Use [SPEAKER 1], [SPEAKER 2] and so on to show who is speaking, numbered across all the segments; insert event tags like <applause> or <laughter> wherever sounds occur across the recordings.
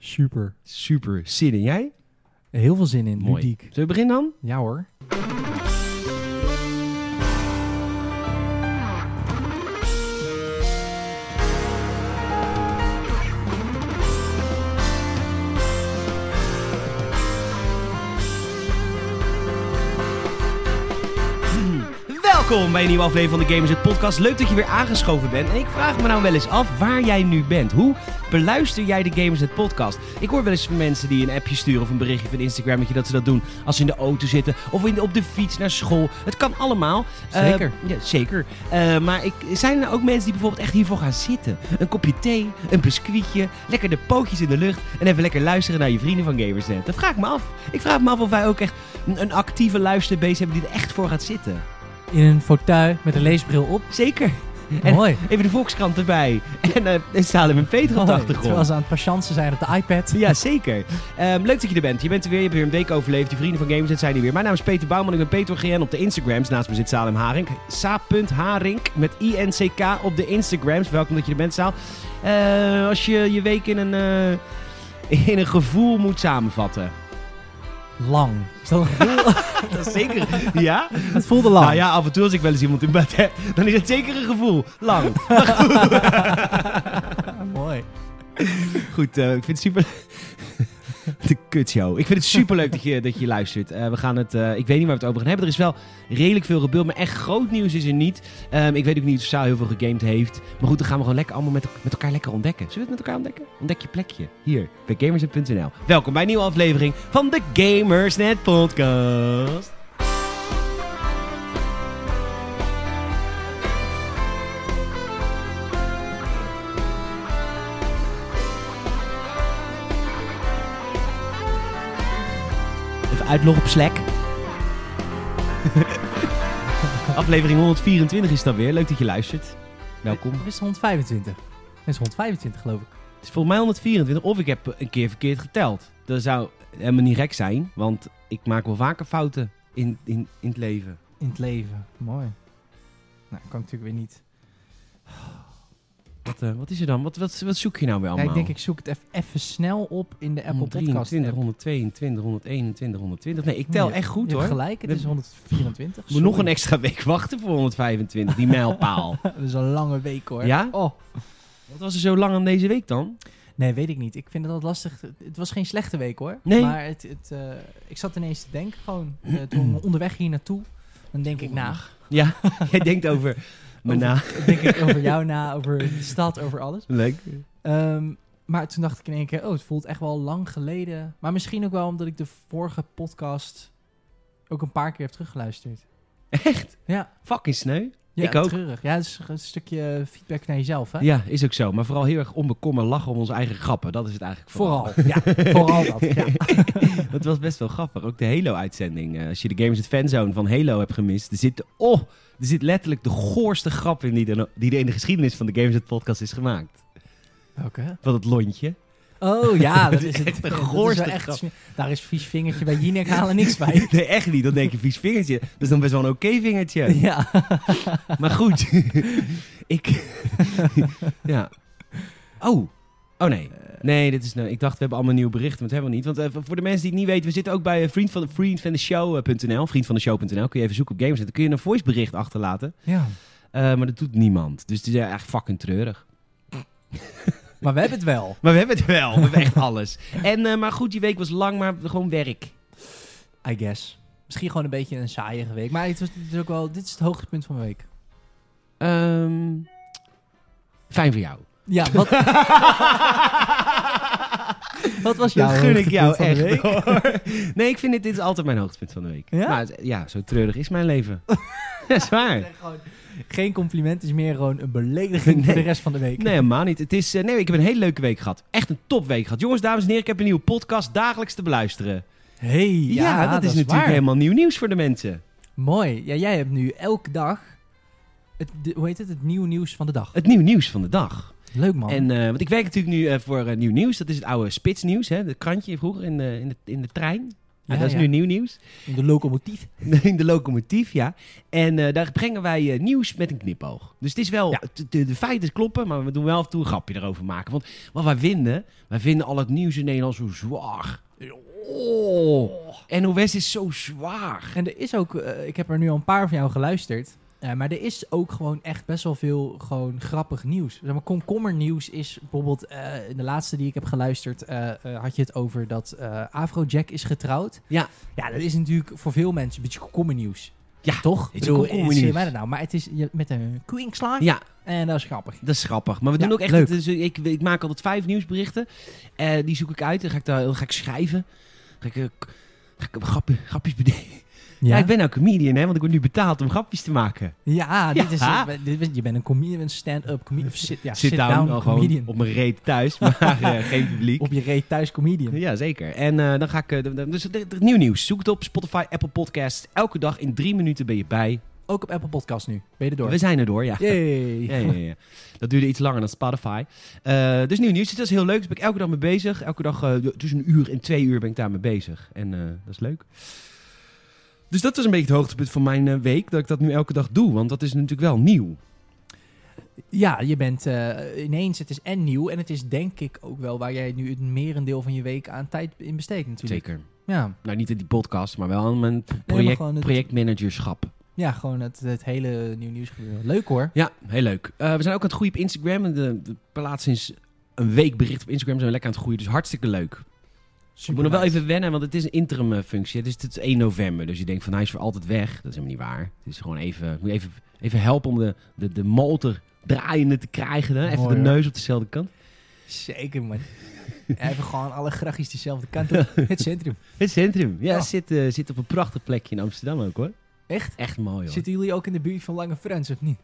[SPEAKER 1] Super.
[SPEAKER 2] Super zin in. Jij?
[SPEAKER 1] Heel veel zin in. Ludiek.
[SPEAKER 2] Zullen we beginnen dan?
[SPEAKER 1] Ja hoor.
[SPEAKER 2] Welkom bij een nieuwe aflevering van de Gamers het Podcast. Leuk dat je weer aangeschoven bent. En ik vraag me nou wel eens af waar jij nu bent. Hoe beluister jij de Gamers het Podcast? Ik hoor wel eens van mensen die een appje sturen of een berichtje van Instagram dat je- dat ze dat doen als ze in de auto zitten of in de- op de fiets naar school. Het kan allemaal.
[SPEAKER 1] Zeker.
[SPEAKER 2] Eh, ja, zeker. Eh, maar ik, zijn er ook mensen die bijvoorbeeld echt hiervoor gaan zitten? Een kopje thee, een biscuitje, lekker de pootjes in de lucht en even lekker luisteren naar je vrienden van Gamersnet. Dat vraag ik me af. Ik vraag me af of wij ook echt een, een actieve luisterbase hebben die er echt voor gaat zitten.
[SPEAKER 1] In een fauteuil met een leesbril op. <laughs>
[SPEAKER 2] Zeker. En-
[SPEAKER 1] Mooi.
[SPEAKER 2] Even de Volkskrant erbij. En, eh en Salem en Peter op de
[SPEAKER 1] Mooi. Terwijl
[SPEAKER 2] achtergrond.
[SPEAKER 1] ze aan Oh, het patiënten zijn op de iPad.
[SPEAKER 2] Ja, zeker. Ehm, leuk dat je er bent. Je bent er weer. Je hebt weer een week overleefd. Die vrienden van Gameset zijn er weer. Mijn naam is Peter Bouwman. Ik ben Peter GN op de Instagrams. Naast me zit Salem Haring. Sa.Haring met INCK op de Instagrams. Welkom dat je er bent, Saal. Eh, als je je week in een, eh, in een gevoel moet samenvatten.
[SPEAKER 1] Lang. Is <laughs> dat een gevoel?
[SPEAKER 2] Dat is zeker. Ja?
[SPEAKER 1] het voelde lang.
[SPEAKER 2] Nou ja, af en toe als ik wel eens iemand in bed heb, dan is het zeker een gevoel. Lang.
[SPEAKER 1] <laughs> Mooi.
[SPEAKER 2] Goed, eh, ik vind het super. <laughs> De kutshow. Ik vind het super leuk dat je, dat je luistert. Eh, we gaan het, eh, ik weet niet waar we het over gaan hebben. Er is wel redelijk veel gebeurd, maar echt groot nieuws is er niet. Ehm, ik weet ook niet of Saal heel veel gegamed heeft. Maar goed, dan gaan we gewoon lekker allemaal met, met elkaar lekker ontdekken. Zullen we het met elkaar ontdekken? Ontdek je plekje hier bij gamersnet.nl. Welkom bij een nieuwe aflevering van de Gamersnet Podcast. Even uitloggen op Slack. <laughs> aflevering 124 is dat weer. Leuk dat je luistert. Welkom.
[SPEAKER 1] Dit is 125. Dit is 125 geloof ik.
[SPEAKER 2] Het is volgens mij 124. Of ik heb een keer verkeerd geteld. Dat zou helemaal niet gek zijn. Want ik maak wel vaker fouten in, in, in het leven.
[SPEAKER 1] In het leven. Mooi. Nou, kan natuurlijk weer niet.
[SPEAKER 2] Wat, eh, wat is er dan? Wat, wat, wat zoek je nou weer
[SPEAKER 1] Ja,
[SPEAKER 2] allemaal?
[SPEAKER 1] ik denk ik zoek het even- even snel op in de Apple Podcast
[SPEAKER 2] 123,
[SPEAKER 1] app.
[SPEAKER 2] 122, 121, 120. Nee, ik tel
[SPEAKER 1] Ja,
[SPEAKER 2] echt goed
[SPEAKER 1] je hebt
[SPEAKER 2] hoor.
[SPEAKER 1] gelijk, het is 124.
[SPEAKER 2] Ik moet nog een
[SPEAKER 1] Sorry.
[SPEAKER 2] extra week <laughs> wachten voor 125, die mijlpaal.
[SPEAKER 1] Dat is een lange week <laughs> hoor.
[SPEAKER 2] Ja?
[SPEAKER 1] Oh.
[SPEAKER 2] wat was er zo lang aan deze week dan?
[SPEAKER 1] Nee, weet ik niet. Ik vind het altijd lastig. Het- Het was geen slechte week hoor.
[SPEAKER 2] Nee.
[SPEAKER 1] Maar het, het, eh, ik zat ineens te denken gewoon. eh, toen
[SPEAKER 2] <clears throat>
[SPEAKER 1] onderweg hier naartoe. Dan denk ik na.
[SPEAKER 2] Ja, <laughs> jij denkt over me
[SPEAKER 1] Over- <laughs>
[SPEAKER 2] na.
[SPEAKER 1] Dan denk ik over jou na, over de stad, over alles.
[SPEAKER 2] Leuk.
[SPEAKER 1] Ehm, maar toen dacht ik in één keer, oh, het voelt echt wel lang geleden. Maar misschien ook wel omdat ik de vorige podcast ook een paar keer heb teruggeluisterd.
[SPEAKER 2] Echt?
[SPEAKER 1] Ja.
[SPEAKER 2] Fucking sneu.
[SPEAKER 1] ja
[SPEAKER 2] Ik ook.
[SPEAKER 1] Treurig. Ja, het is een stukje feedback naar jezelf hè.
[SPEAKER 2] Ja, is ook zo. Maar vooral heel erg onbekommerd lachen om onze eigen grappen. Dat is het eigenlijk vooral. <laughs>
[SPEAKER 1] Vooral. Ja, vooral dat. Ja.
[SPEAKER 2] Dat was best wel grappig. Ook de Halo-uitzending. Eh, als je de Games het Fanzone van Halo hebt gemist, er zit, oh, er zit letterlijk de goorste grap in die er, die er in de geschiedenis van de Games het Podcast is gemaakt.
[SPEAKER 1] Welke?
[SPEAKER 2] Van het lontje.
[SPEAKER 1] Oh ja, dat
[SPEAKER 2] <laughs>
[SPEAKER 1] is het.
[SPEAKER 2] Echt een
[SPEAKER 1] Dat is wel
[SPEAKER 2] goorste
[SPEAKER 1] echt
[SPEAKER 2] grap.
[SPEAKER 1] sne- Daar is vies vingertje bij Jinek halen niks bij.
[SPEAKER 2] <laughs> Nee, echt niet. Dan denk je, vies vingertje. Dat is dan best wel een oké
[SPEAKER 1] <laughs>
[SPEAKER 2] vingertje.
[SPEAKER 1] Ja.
[SPEAKER 2] Maar goed. <laughs> ik... <laughs> ja. Oh. Oh nee. Nee, dit is, nou, ik dacht we hebben allemaal nieuwe berichten, maar dat hebben we niet. Want eh, voor de mensen die het niet weten, we zitten ook bij eh, vriend van, eh, vriendvandeshow.nl. Vriendvandeshow.nl kun je even zoeken op games en dan kun je een voicebericht achterlaten.
[SPEAKER 1] ja.
[SPEAKER 2] Eh, maar dat doet niemand. Dus het is eh, echt fucking treurig.
[SPEAKER 1] Maar we hebben het wel.
[SPEAKER 2] Maar we hebben het wel. We hebben echt alles. <laughs> En, eh, maar goed, die week was lang, maar gewoon werk.
[SPEAKER 1] I guess. Misschien gewoon een beetje een saaie week. Maar het was, dit is ook wel, dit is het hoogtepunt van de week.
[SPEAKER 2] Ehm, fijn <laughs> voor jou.
[SPEAKER 1] Ja, <laughs> wat, wat was jouw
[SPEAKER 2] Dat gun ik
[SPEAKER 1] hoogtepunt
[SPEAKER 2] jou
[SPEAKER 1] van de
[SPEAKER 2] echt.
[SPEAKER 1] <laughs> week?
[SPEAKER 2] hoor. Nee, ik vind dit, dit is altijd mijn hoogtepunt van de week.
[SPEAKER 1] Ja?
[SPEAKER 2] Maar, het- ja, zo treurig is mijn leven. <laughs> Dat is waar.
[SPEAKER 1] Gewoon, geen compliment is meer gewoon een belediging voor de
[SPEAKER 2] Nee.
[SPEAKER 1] rest van de week.
[SPEAKER 2] Nee, helemaal niet. Het is, eh, nee, ik heb een hele leuke week gehad. Echt een topweek gehad. Jongens, dames en heren, ik heb een nieuwe podcast dagelijks te beluisteren.
[SPEAKER 1] Hey, ja,
[SPEAKER 2] Ja, dat, is, natuurlijk
[SPEAKER 1] waar.
[SPEAKER 2] helemaal nieuw nieuws voor de mensen.
[SPEAKER 1] Mooi. Ja, jij hebt nu elke dag, het, de- hoe heet het, het nieuwe nieuws van de dag.
[SPEAKER 2] Het nieuw nieuws van de dag.
[SPEAKER 1] Leuk man.
[SPEAKER 2] En, eh, want ik werk natuurlijk nu eh, voor eh, Nieuw Nieuws. Dat is het oude Spitsnieuws, hè, het krantje vroeger in de, in de, in de trein. Ja, dat is nu nieuw nieuws. <laughs>
[SPEAKER 1] In de locomotief.
[SPEAKER 2] In de locomotief, ja. En eh, daar brengen wij eh, nieuws met een knipoog. Dus het is wel,
[SPEAKER 1] Ja.
[SPEAKER 2] t- de, de feiten kloppen, maar we doen wel af en toe een grapje erover maken. Want wat wij vinden, wij vinden al het nieuws in Nederland zo zwaar. Oh. NOS is zo zwaar.
[SPEAKER 1] En er is ook, eh, ik heb er nu al een paar van jou geluisterd. eh, maar er is ook gewoon echt best wel veel gewoon grappig nieuws. Zeg maar, komkommernieuws is bijvoorbeeld, eh, in de laatste die ik heb geluisterd, eh, eh, had je het over dat eh Afrojack is getrouwd.
[SPEAKER 2] Ja.
[SPEAKER 1] Ja, dat is natuurlijk voor veel mensen een beetje komkommernieuws.
[SPEAKER 2] Ja,
[SPEAKER 1] Toch?
[SPEAKER 2] is
[SPEAKER 1] Ik bedoel,
[SPEAKER 2] komkommernieuws.
[SPEAKER 1] zie je mij dat nou? Maar het is je- met een kwinkslag
[SPEAKER 2] Ja,
[SPEAKER 1] en dat is grappig.
[SPEAKER 2] dat is grappig. Maar we doen
[SPEAKER 1] Ja,
[SPEAKER 2] ook echt,
[SPEAKER 1] leuk.
[SPEAKER 2] het is- ik, ik maak altijd vijf nieuwsberichten. Eh, die zoek ik uit, dan ga ik, daar, dan ga ik schrijven. Ga ik, eh, k- ga ik grapje- grapjes bedenken. Ja. ik ben nou comedian, hè, want ik word nu betaald om grapjes te maken.
[SPEAKER 1] Ja, dit is,
[SPEAKER 2] Ja.
[SPEAKER 1] dit is- je bent een comedian, een stand-up comedian. Sit, ja,
[SPEAKER 2] sit down, al gewoon
[SPEAKER 1] nou comedian.
[SPEAKER 2] op mijn reet thuis, <laughs> maar eh, geen publiek.
[SPEAKER 1] Op je reet thuis comedian.
[SPEAKER 2] Ja, zeker. En eh, dan ga ik... eh, d- d- dus d- d- nieuw nieuws. Zoek het op Spotify, Apple Podcasts. Elke dag in drie minuten ben je bij.
[SPEAKER 1] Ook op Apple Podcast nu. Ben je er door?
[SPEAKER 2] We zijn er door, ja.
[SPEAKER 1] Yay.
[SPEAKER 2] Ja, ja, ja. Dat duurde iets langer dan Spotify. Eh, dus nieuw nieuws. Dus dat is heel leuk. Dus ben ik elke dag mee bezig. Elke dag eh, tussen een uur en twee uur ben ik daar mee bezig. En eh, dat is leuk. Dus dat was een beetje het hoogtepunt van mijn eh, week. Dat ik dat nu elke dag doe. Want dat is natuurlijk wel nieuw.
[SPEAKER 1] Ja, je bent eh, ineens, het is en nieuw en het is denk ik ook wel waar jij nu het merendeel van je week aan tijd in besteedt natuurlijk.
[SPEAKER 2] Zeker.
[SPEAKER 1] Ja,
[SPEAKER 2] Nou, niet in die podcast, maar wel aan mijn
[SPEAKER 1] Nee, maar
[SPEAKER 2] project,
[SPEAKER 1] gewoon het-
[SPEAKER 2] projectmanagerschap.
[SPEAKER 1] ja gewoon het, het hele nieuw nieuws gebeuren. Leuk hoor.
[SPEAKER 2] Ja, heel leuk. Eh, we zijn ook aan het groeien op Instagram. En De, de plaats sinds een week bericht op Instagram zijn we lekker aan het groeien. Dus hartstikke leuk. Je moet nog wel even wennen, want het is een interim eh, functie. Het is, het is 1 november, dus je denkt van hij is voor altijd weg. Dat is helemaal niet waar. Het is gewoon even, ik moet even, even helpen om de, de, de motor draaiende te krijgen. Hè? Even
[SPEAKER 1] Mooi,
[SPEAKER 2] de
[SPEAKER 1] hoor.
[SPEAKER 2] neus op dezelfde kant.
[SPEAKER 1] Zeker man. Even gewoon alle grafisch dezelfde kant
[SPEAKER 2] <laughs>
[SPEAKER 1] op. Het centrum.
[SPEAKER 2] Het centrum. Ja,
[SPEAKER 1] Ja.
[SPEAKER 2] het Zit, eh, zit op een prachtig plekje in Amsterdam ook hoor.
[SPEAKER 1] Echt?
[SPEAKER 2] Echt mooi hoor.
[SPEAKER 1] Zitten jullie ook in de buurt van Lange Frans of niet?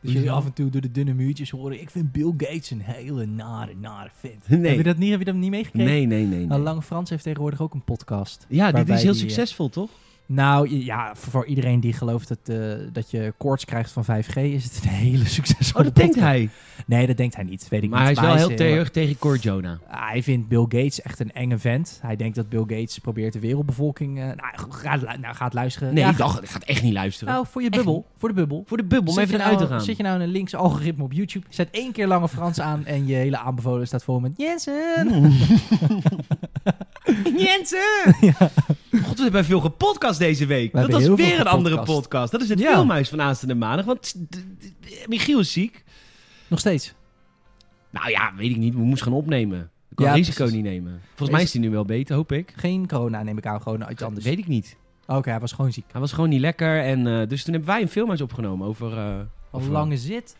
[SPEAKER 1] Dus
[SPEAKER 2] Hoezo?
[SPEAKER 1] jullie af en toe door de dunne muurtjes horen. Ik vind Bill Gates een hele nare, nare vent.
[SPEAKER 2] <laughs> Nee.
[SPEAKER 1] Heb je dat niet, heb je dat niet meegekregen?
[SPEAKER 2] Nee, nee, nee. nee.
[SPEAKER 1] Nou, Lange Frans heeft tegenwoordig ook een podcast.
[SPEAKER 2] Ja, dit
[SPEAKER 1] waarbij
[SPEAKER 2] is heel
[SPEAKER 1] die, eh,
[SPEAKER 2] succesvol toch?
[SPEAKER 1] Nou je- ja, voor, voor iedereen die gelooft dat, eh, dat je koorts krijgt van 5G, is het een <laughs> hele
[SPEAKER 2] Oh,
[SPEAKER 1] succesvolle
[SPEAKER 2] dat denkt
[SPEAKER 1] podcast.
[SPEAKER 2] hij.
[SPEAKER 1] Nee, dat denkt hij niet. Weet ik
[SPEAKER 2] Maar hij
[SPEAKER 1] niet.
[SPEAKER 2] is wel heel
[SPEAKER 1] eh,
[SPEAKER 2] terug tegen Cor Jonah.
[SPEAKER 1] Hij vindt Bill Gates echt een enge vent. Hij denkt dat Bill Gates probeert de wereldbevolking. eh, nou, ga, lu- nou, ga het luisteren.
[SPEAKER 2] Nee,
[SPEAKER 1] Ja,
[SPEAKER 2] ik
[SPEAKER 1] ga-
[SPEAKER 2] dacht, ik ga het echt niet luisteren.
[SPEAKER 1] Nou, voor je
[SPEAKER 2] Echt
[SPEAKER 1] bubbel. Voor de bubbel.
[SPEAKER 2] Voor de bubbel, om
[SPEAKER 1] Zit
[SPEAKER 2] even
[SPEAKER 1] je,
[SPEAKER 2] eruit
[SPEAKER 1] nou,
[SPEAKER 2] te gaan.
[SPEAKER 1] zit je nou in een links algoritme op YouTube? Zet één keer lange Frans aan en je hele aanbevolen staat vol met Jensen.
[SPEAKER 2] Mm.
[SPEAKER 1] <laughs>
[SPEAKER 2] <laughs>
[SPEAKER 1] Jensen!
[SPEAKER 2] God, we hebben veel gepodcast deze week.
[SPEAKER 1] We
[SPEAKER 2] dat was
[SPEAKER 1] hebben heel
[SPEAKER 2] weer
[SPEAKER 1] veel
[SPEAKER 2] een andere
[SPEAKER 1] gepodcast.
[SPEAKER 2] podcast. Dat is het
[SPEAKER 1] Ja.
[SPEAKER 2] filmhuis van aanstaande maandag. Want d- d- d- Michiel is ziek.
[SPEAKER 1] Nog steeds.
[SPEAKER 2] Nou ja, weet ik niet. We moesten gaan opnemen. Ik kan
[SPEAKER 1] Ja,
[SPEAKER 2] risico
[SPEAKER 1] precies.
[SPEAKER 2] niet nemen. Volgens mij is hij nu wel beter, hoop ik.
[SPEAKER 1] Geen corona neem ik aan, gewoon iets anders.
[SPEAKER 2] Weet ik niet.
[SPEAKER 1] Oké, hij was gewoon ziek.
[SPEAKER 2] Hij was gewoon niet lekker. En, eh, dus toen hebben wij een filmhuis opgenomen over, eh,
[SPEAKER 1] Al
[SPEAKER 2] over,
[SPEAKER 1] lange zit.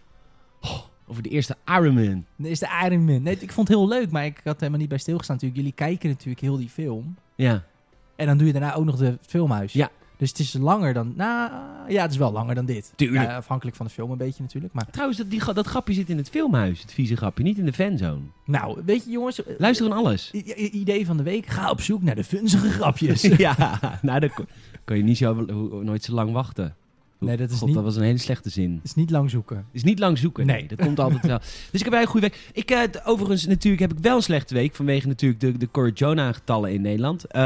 [SPEAKER 2] over de eerste Iron Man.
[SPEAKER 1] Nee, Is de Iron Man. Nee, ik vond het heel leuk, maar ik had er helemaal niet bij stilgestaan natuurlijk. Jullie kijken natuurlijk heel die film.
[SPEAKER 2] Ja.
[SPEAKER 1] En dan doe je daarna ook nog de filmhuis.
[SPEAKER 2] Ja.
[SPEAKER 1] Dus het is langer dan... Nou, ja, het is wel langer dan dit.
[SPEAKER 2] Tuurlijk.
[SPEAKER 1] Ja, afhankelijk van de film een beetje natuurlijk. Maar
[SPEAKER 2] Trouwens, dat, die, gra- dat grapje zit in het filmhuis. Het vieze grapje. Niet in de fanzone.
[SPEAKER 1] nou, weet je jongens... eh,
[SPEAKER 2] Luister aan alles.
[SPEAKER 1] i- i- idee van de week. Ga op zoek naar de funzige grapjes.
[SPEAKER 2] <laughs> ja, nou, dan kon, kon je niet zo, ho- nooit zo lang wachten. Hoe-
[SPEAKER 1] Nee, dat is
[SPEAKER 2] God,
[SPEAKER 1] niet-
[SPEAKER 2] dat was een hele slechte zin.
[SPEAKER 1] is niet lang zoeken.
[SPEAKER 2] is niet lang zoeken. Nee,
[SPEAKER 1] Nee.
[SPEAKER 2] dat komt
[SPEAKER 1] <laughs>
[SPEAKER 2] altijd wel. Dus ik heb eigenlijk een goede week. Ik, eh, d- overigens, natuurlijk heb ik wel een slechte week. Vanwege natuurlijk de, de corona-getallen in Nederland. Eh,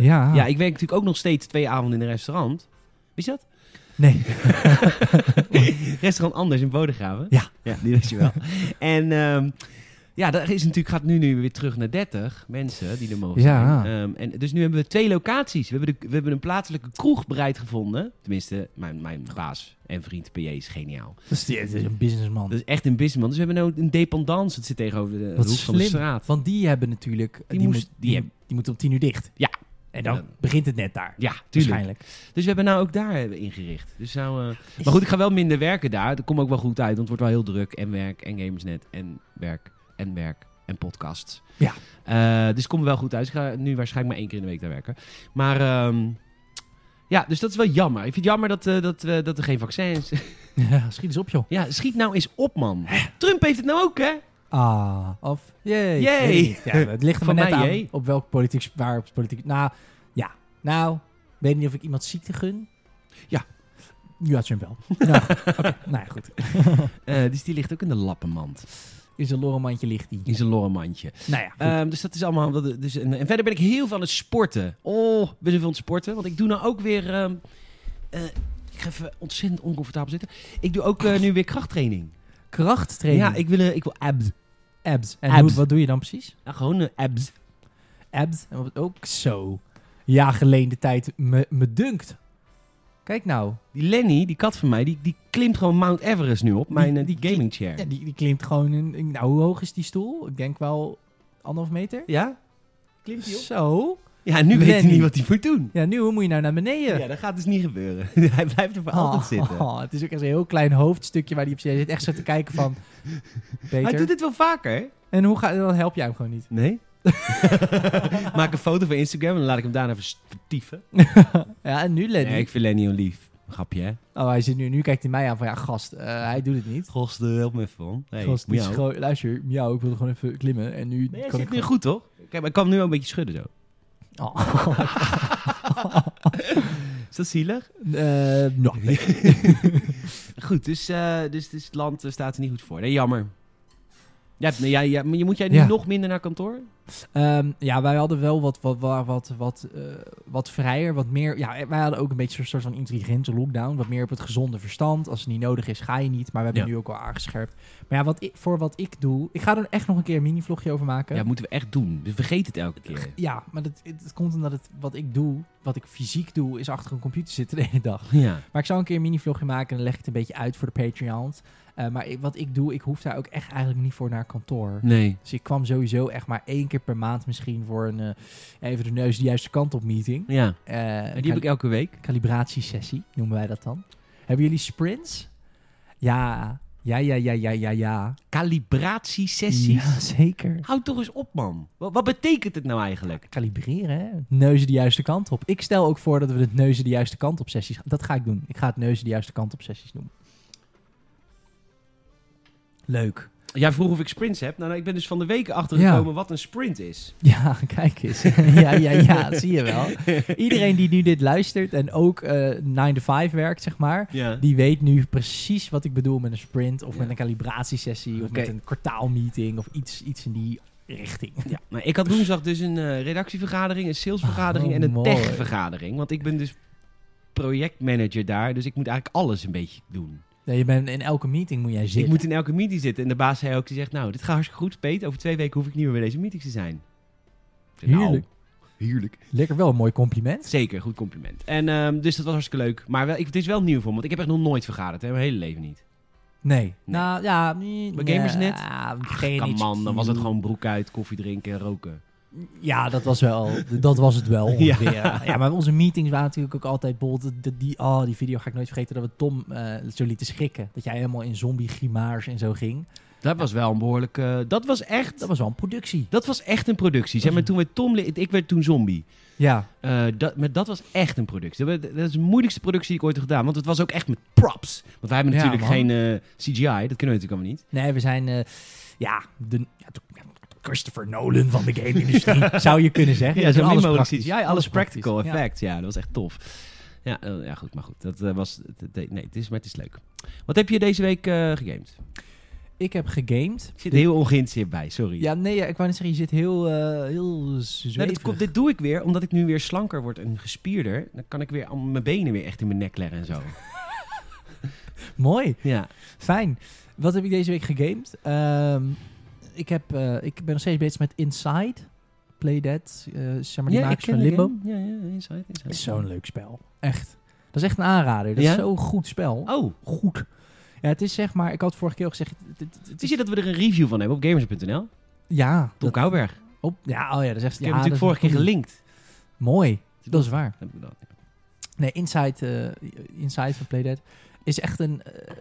[SPEAKER 1] Ja.
[SPEAKER 2] ik werk natuurlijk ook nog steeds twee avonden in een restaurant. Wist je dat?
[SPEAKER 1] Nee. <laughs>
[SPEAKER 2] restaurant Anders in Bodegraven.
[SPEAKER 1] Ja.
[SPEAKER 2] Ja, die weet je wel. <laughs> en ehm, ja, daar is natuurlijk, gaat nu, nu weer terug naar 30 mensen die er mogen
[SPEAKER 1] Ja.
[SPEAKER 2] zijn. Ehm, en, dus nu hebben we twee locaties. We hebben, de, we hebben een plaatselijke kroeg bereid gevonden. Tenminste, mijn, mijn baas en vriend PJ is geniaal.
[SPEAKER 1] Dat is, dat is een businessman.
[SPEAKER 2] Dat is echt een businessman. Dus we hebben nou een dependance. Dat zit tegenover de
[SPEAKER 1] Wat
[SPEAKER 2] hoek van de
[SPEAKER 1] slim.
[SPEAKER 2] straat.
[SPEAKER 1] Want die hebben natuurlijk... Die,
[SPEAKER 2] moest-
[SPEAKER 1] moet-
[SPEAKER 2] die
[SPEAKER 1] die,
[SPEAKER 2] hebben-
[SPEAKER 1] die moeten om tien uur dicht.
[SPEAKER 2] Ja.
[SPEAKER 1] En dan
[SPEAKER 2] Ja.
[SPEAKER 1] begint het net daar.
[SPEAKER 2] Ja, tuurlijk.
[SPEAKER 1] Waarschijnlijk. <laughs>
[SPEAKER 2] Dus we hebben nou ook daar hebben ingericht. Dus nou, eh, Maar goed, ik ga wel minder werken daar. Dat komt ook wel goed uit, want het wordt wel heel druk. En werk, en Gamersnet, en werk, en werk, en podcasts.
[SPEAKER 1] Ja.
[SPEAKER 2] Eh, dus het komt wel goed uit. Ik ga nu waarschijnlijk maar één keer in de week daar werken. Maar ehm, ja, dus dat is wel jammer. Ik vind het jammer dat, eh, dat, eh, dat er geen vaccin is.
[SPEAKER 1] Ja, schiet eens op joh.
[SPEAKER 2] <laughs> ja, schiet nou eens op, man. Trump heeft het nou ook, hè?
[SPEAKER 1] Ah, of jee.
[SPEAKER 2] Jee.
[SPEAKER 1] Weet ik niet. Ja, het ligt er maar
[SPEAKER 2] Van
[SPEAKER 1] net
[SPEAKER 2] mij
[SPEAKER 1] aan
[SPEAKER 2] jee.
[SPEAKER 1] op welk politiek... Waar op politiek... Nou, ja. Nou, weet niet of ik iemand ziekte gun.
[SPEAKER 2] Ja.
[SPEAKER 1] <laughs> Ja, Trump wel. nou, oké. nou ja, goed.
[SPEAKER 2] Eh, dus die ligt ook in de lappenmand.
[SPEAKER 1] In zijn lorremandje ligt die.
[SPEAKER 2] In zijn lorremandje.
[SPEAKER 1] Nou ja, goed.
[SPEAKER 2] Ehm, dus dat is allemaal. wat- Dus, en, en verder ben ik heel veel aan het sporten. Oh, ik ben zoveel aan het sporten. Want ik doe nou ook weer. ehm, eh, ik ga even ontzettend oncomfortabel zitten. Ik doe ook eh, nu weer krachttraining.
[SPEAKER 1] krachttraining.
[SPEAKER 2] Ja, ik wil, eh, ik wil abs.
[SPEAKER 1] abs. En
[SPEAKER 2] abs.
[SPEAKER 1] hoe- wat doe je dan precies?
[SPEAKER 2] Ja, gewoon eh, abs.
[SPEAKER 1] Abs. En wat ook zo. Ja, geleende tijd. Me, me dunkt. Kijk nou.
[SPEAKER 2] Die Lenny, die kat van mij, die, die klimt gewoon Mount Everest nu op. Mijn eh,
[SPEAKER 1] die
[SPEAKER 2] die gaming chair.
[SPEAKER 1] Ja, die, die klimt gewoon een, een- Nou, hoe hoog is die stoel? Ik denk wel anderhalf meter.
[SPEAKER 2] Ja?
[SPEAKER 1] Zo.
[SPEAKER 2] Ja, nu weet hij
[SPEAKER 1] Lenny.
[SPEAKER 2] niet wat hij moet doen.
[SPEAKER 1] Ja, nu hoe moet je nou naar beneden?
[SPEAKER 2] Ja, dat gaat dus niet gebeuren. <laughs> hij blijft er voor altijd
[SPEAKER 1] Oh,
[SPEAKER 2] zitten.
[SPEAKER 1] oh, <laughs> het is ook echt een heel klein hoofdstukje waar die op zit. Hij zit echt zo te kijken
[SPEAKER 2] <laughs>
[SPEAKER 1] van...
[SPEAKER 2] Hij
[SPEAKER 1] Peter,
[SPEAKER 2] doet dit wel vaker, hè?
[SPEAKER 1] en hoe ga, dan help jij hem gewoon niet. <laughs>
[SPEAKER 2] Nee. <laughs> Maak een foto voor Instagram en dan laat ik hem daarna vertieven.
[SPEAKER 1] Ja, en nu Lenny.
[SPEAKER 2] Nee, ik vind Lenny heel lief. Grapje, hè?
[SPEAKER 1] Oh, hij zit nu, nu kijkt hij mij aan van... Ja, gast, eh, hij doet het niet.
[SPEAKER 2] Goste, eh, help me even, man. Hey,
[SPEAKER 1] gast, dit is
[SPEAKER 2] miauw.
[SPEAKER 1] gewoon- luister, miauw, ik wilde gewoon even klimmen. En nu
[SPEAKER 2] Maar jij
[SPEAKER 1] kan ik
[SPEAKER 2] zit
[SPEAKER 1] gewoon-
[SPEAKER 2] nu goed, toch? Kijk, maar ik kan hem nu ook een beetje schudden zo.
[SPEAKER 1] Oh. <laughs>
[SPEAKER 2] Is dat zielig?
[SPEAKER 1] Eh, nou, nee.
[SPEAKER 2] Goed, dus, eh, dus, dus het land eh, staat er niet goed voor. Nee, jammer. Ja, nee, jij, jij- maar je moet jij nu
[SPEAKER 1] Ja.
[SPEAKER 2] nog minder naar kantoor?
[SPEAKER 1] Ehm, ja, wij hadden wel wat, wat, wat, wat, wat, eh, wat vrijer, wat meer... Ja, eh, wij hadden ook een beetje een soort van intelligente lockdown. Wat meer op het gezonde verstand. Als het niet nodig is, ga je niet. Maar we hebben
[SPEAKER 2] Ja.
[SPEAKER 1] nu ook wel aangescherpt. Maar ja, wat ik, voor wat ik doe... Ik ga er echt nog een keer een mini-vlogje over maken.
[SPEAKER 2] Ja, moeten we echt doen. We vergeten het elke keer.
[SPEAKER 1] Ja, maar dat, het, het komt omdat het, wat ik doe, wat ik fysiek doe, is achter een computer zitten de hele dag.
[SPEAKER 2] <laughs> Ja.
[SPEAKER 1] Maar ik zou een keer een mini-vlogje maken en dan leg ik het een beetje uit voor de Patreons. Eh, maar ik- wat ik doe, ik hoef daar ook echt eigenlijk niet voor naar kantoor.
[SPEAKER 2] Nee.
[SPEAKER 1] Dus ik kwam sowieso echt maar één keer per maand misschien voor een eh, even de neus de juiste kant op meeting.
[SPEAKER 2] Ja.
[SPEAKER 1] Eh,
[SPEAKER 2] Die heb ik elke week.
[SPEAKER 1] Calibratiesessie noemen wij dat dan. Hebben jullie sprints? Ja, ja, ja, ja, ja, ja, ja.
[SPEAKER 2] Calibratiesessies.
[SPEAKER 1] Ja, zeker.
[SPEAKER 2] Houd toch eens op, man. Wat, wat betekent het nou eigenlijk?
[SPEAKER 1] Kalibreren, hè? Neuzen de juiste kant op. Ik stel ook voor dat we het neuzen de juiste kant op sessies... Dat ga ik doen. Ik ga het neuzen de juiste kant op sessies noemen. Leuk.
[SPEAKER 2] Jij vroeg of ik sprints heb. Nou, nou, ik ben dus van de weken
[SPEAKER 1] Ja.
[SPEAKER 2] achtergekomen wat een sprint is.
[SPEAKER 1] Ja, <laughs> kijk eens. ja, ja, ja, zie je wel. Iedereen die nu dit luistert en ook eh 9 to 5 werkt, zeg maar...
[SPEAKER 2] Ja.
[SPEAKER 1] Die weet nu precies wat ik bedoel met een sprint of
[SPEAKER 2] Ja.
[SPEAKER 1] met een calibratiesessie of
[SPEAKER 2] Oké.
[SPEAKER 1] met een kwartaalmeeting of iets, iets in die richting.
[SPEAKER 2] Ja, maar ik had woensdag dus een eh, redactievergadering, een salesvergadering
[SPEAKER 1] Oh,
[SPEAKER 2] en een
[SPEAKER 1] mooi.
[SPEAKER 2] techvergadering. Want ik ben dus projectmanager daar, dus ik moet eigenlijk alles een beetje doen. Dus
[SPEAKER 1] Nee, je bent, in elke meeting moet jij zitten.
[SPEAKER 2] Ik moet in elke meeting zitten. En de baas zei ook, die zegt, nou, dit gaat hartstikke goed, Peet. Over twee weken hoef ik niet meer bij deze meeting te zijn. Ik zei, nou,
[SPEAKER 1] Heerlijk.
[SPEAKER 2] heerlijk.
[SPEAKER 1] Lekker wel een mooi compliment.
[SPEAKER 2] Zeker, goed compliment. En ehm, dus dat was hartstikke leuk. Maar wel, ik, het is wel nieuw voor me, want ik heb echt nog nooit vergaderd. Hè, mijn hele leven niet.
[SPEAKER 1] Nee. Nou ja, mm,
[SPEAKER 2] Bij Gamers
[SPEAKER 1] ja,
[SPEAKER 2] Net?
[SPEAKER 1] geen
[SPEAKER 2] Kan
[SPEAKER 1] iets-
[SPEAKER 2] man, dan was het gewoon broek uit, koffie drinken en roken.
[SPEAKER 1] Ja, dat was wel. Dat was het wel ongeveer.
[SPEAKER 2] <laughs> Ja.
[SPEAKER 1] Ja, maar onze meetings waren natuurlijk ook altijd bol. de- de- Die, oh, die video ga ik nooit vergeten dat we Tom eh, zo lieten schrikken. Dat jij helemaal in zombie grimaars en zo ging.
[SPEAKER 2] Dat was wel een behoorlijk... eh, dat was echt...
[SPEAKER 1] Dat was wel een productie.
[SPEAKER 2] Dat was echt een productie. Zeg maar, toen we Tom... le- Ik werd toen zombie.
[SPEAKER 1] Ja.
[SPEAKER 2] Eh, dat, maar dat was echt een productie. Dat, dat is de moeilijkste productie die ik ooit heb gedaan. Want het was ook echt met props. Want wij hebben
[SPEAKER 1] Ja,
[SPEAKER 2] natuurlijk
[SPEAKER 1] man.
[SPEAKER 2] geen eh, CGI. Dat kunnen we natuurlijk allemaal niet.
[SPEAKER 1] Nee, we zijn. eh, ja, de, ja, de- ja, de Christopher Nolan van de game-industrie. <laughs> zou je kunnen zeggen.
[SPEAKER 2] Ja,
[SPEAKER 1] Je
[SPEAKER 2] zo
[SPEAKER 1] doet
[SPEAKER 2] min
[SPEAKER 1] alles
[SPEAKER 2] mogelijk
[SPEAKER 1] praktisch.
[SPEAKER 2] CGI. Alles, practical
[SPEAKER 1] praktisch. Ja.
[SPEAKER 2] effects. Ja. dat was echt tof. Ja, eh, ja goed. Maar goed. Dat eh, was... dat deed- nee, het is, maar het is leuk. Wat heb je deze week eh, gegamed?
[SPEAKER 1] Ik heb gegamed.
[SPEAKER 2] Ik zit er heel ongeïnteresseerd bij. Sorry.
[SPEAKER 1] Ja, nee, ja, ik wou net zeggen, je zit heel. eh heel
[SPEAKER 2] Nou,
[SPEAKER 1] zweverig.
[SPEAKER 2] dit, komt, dit doe ik weer omdat ik nu weer slanker word en gespierder. Dan kan ik weer al mijn benen weer echt in mijn nek leggen en zo.
[SPEAKER 1] Mooi.
[SPEAKER 2] <laughs> Ja.
[SPEAKER 1] Fijn. Wat heb ik deze week gegamed? Ehm, ik, heb, eh, ik ben nog steeds bezig met Inside. Play Dead. eh, zeg maar die
[SPEAKER 2] ja,
[SPEAKER 1] makers
[SPEAKER 2] ken
[SPEAKER 1] van
[SPEAKER 2] de
[SPEAKER 1] Limbo.
[SPEAKER 2] game. Ja, ja, inside,
[SPEAKER 1] Dat
[SPEAKER 2] inside.
[SPEAKER 1] is zo'n leuk spel. Echt. Dat is echt een aanrader. Dat
[SPEAKER 2] Ja?
[SPEAKER 1] is zo'n goed spel.
[SPEAKER 2] Oh,
[SPEAKER 1] Goed. Ja, het is zeg maar... Ik had vorige keer al gezegd... het- het- het- het
[SPEAKER 2] zie
[SPEAKER 1] is-
[SPEAKER 2] je dat we er een review van hebben op gamers.nl?
[SPEAKER 1] ja.
[SPEAKER 2] Tom
[SPEAKER 1] dat-
[SPEAKER 2] Kouwberg.
[SPEAKER 1] op, ja, oh ja, dat is echt... ja,
[SPEAKER 2] Ik heb natuurlijk
[SPEAKER 1] dat is
[SPEAKER 2] vorige keer
[SPEAKER 1] een goeie.
[SPEAKER 2] gelinkt.
[SPEAKER 1] Mooi. Dat is waar.
[SPEAKER 2] Heb ik dat.
[SPEAKER 1] Nee, Inside, eh, Inside van Playdead is echt een... eh,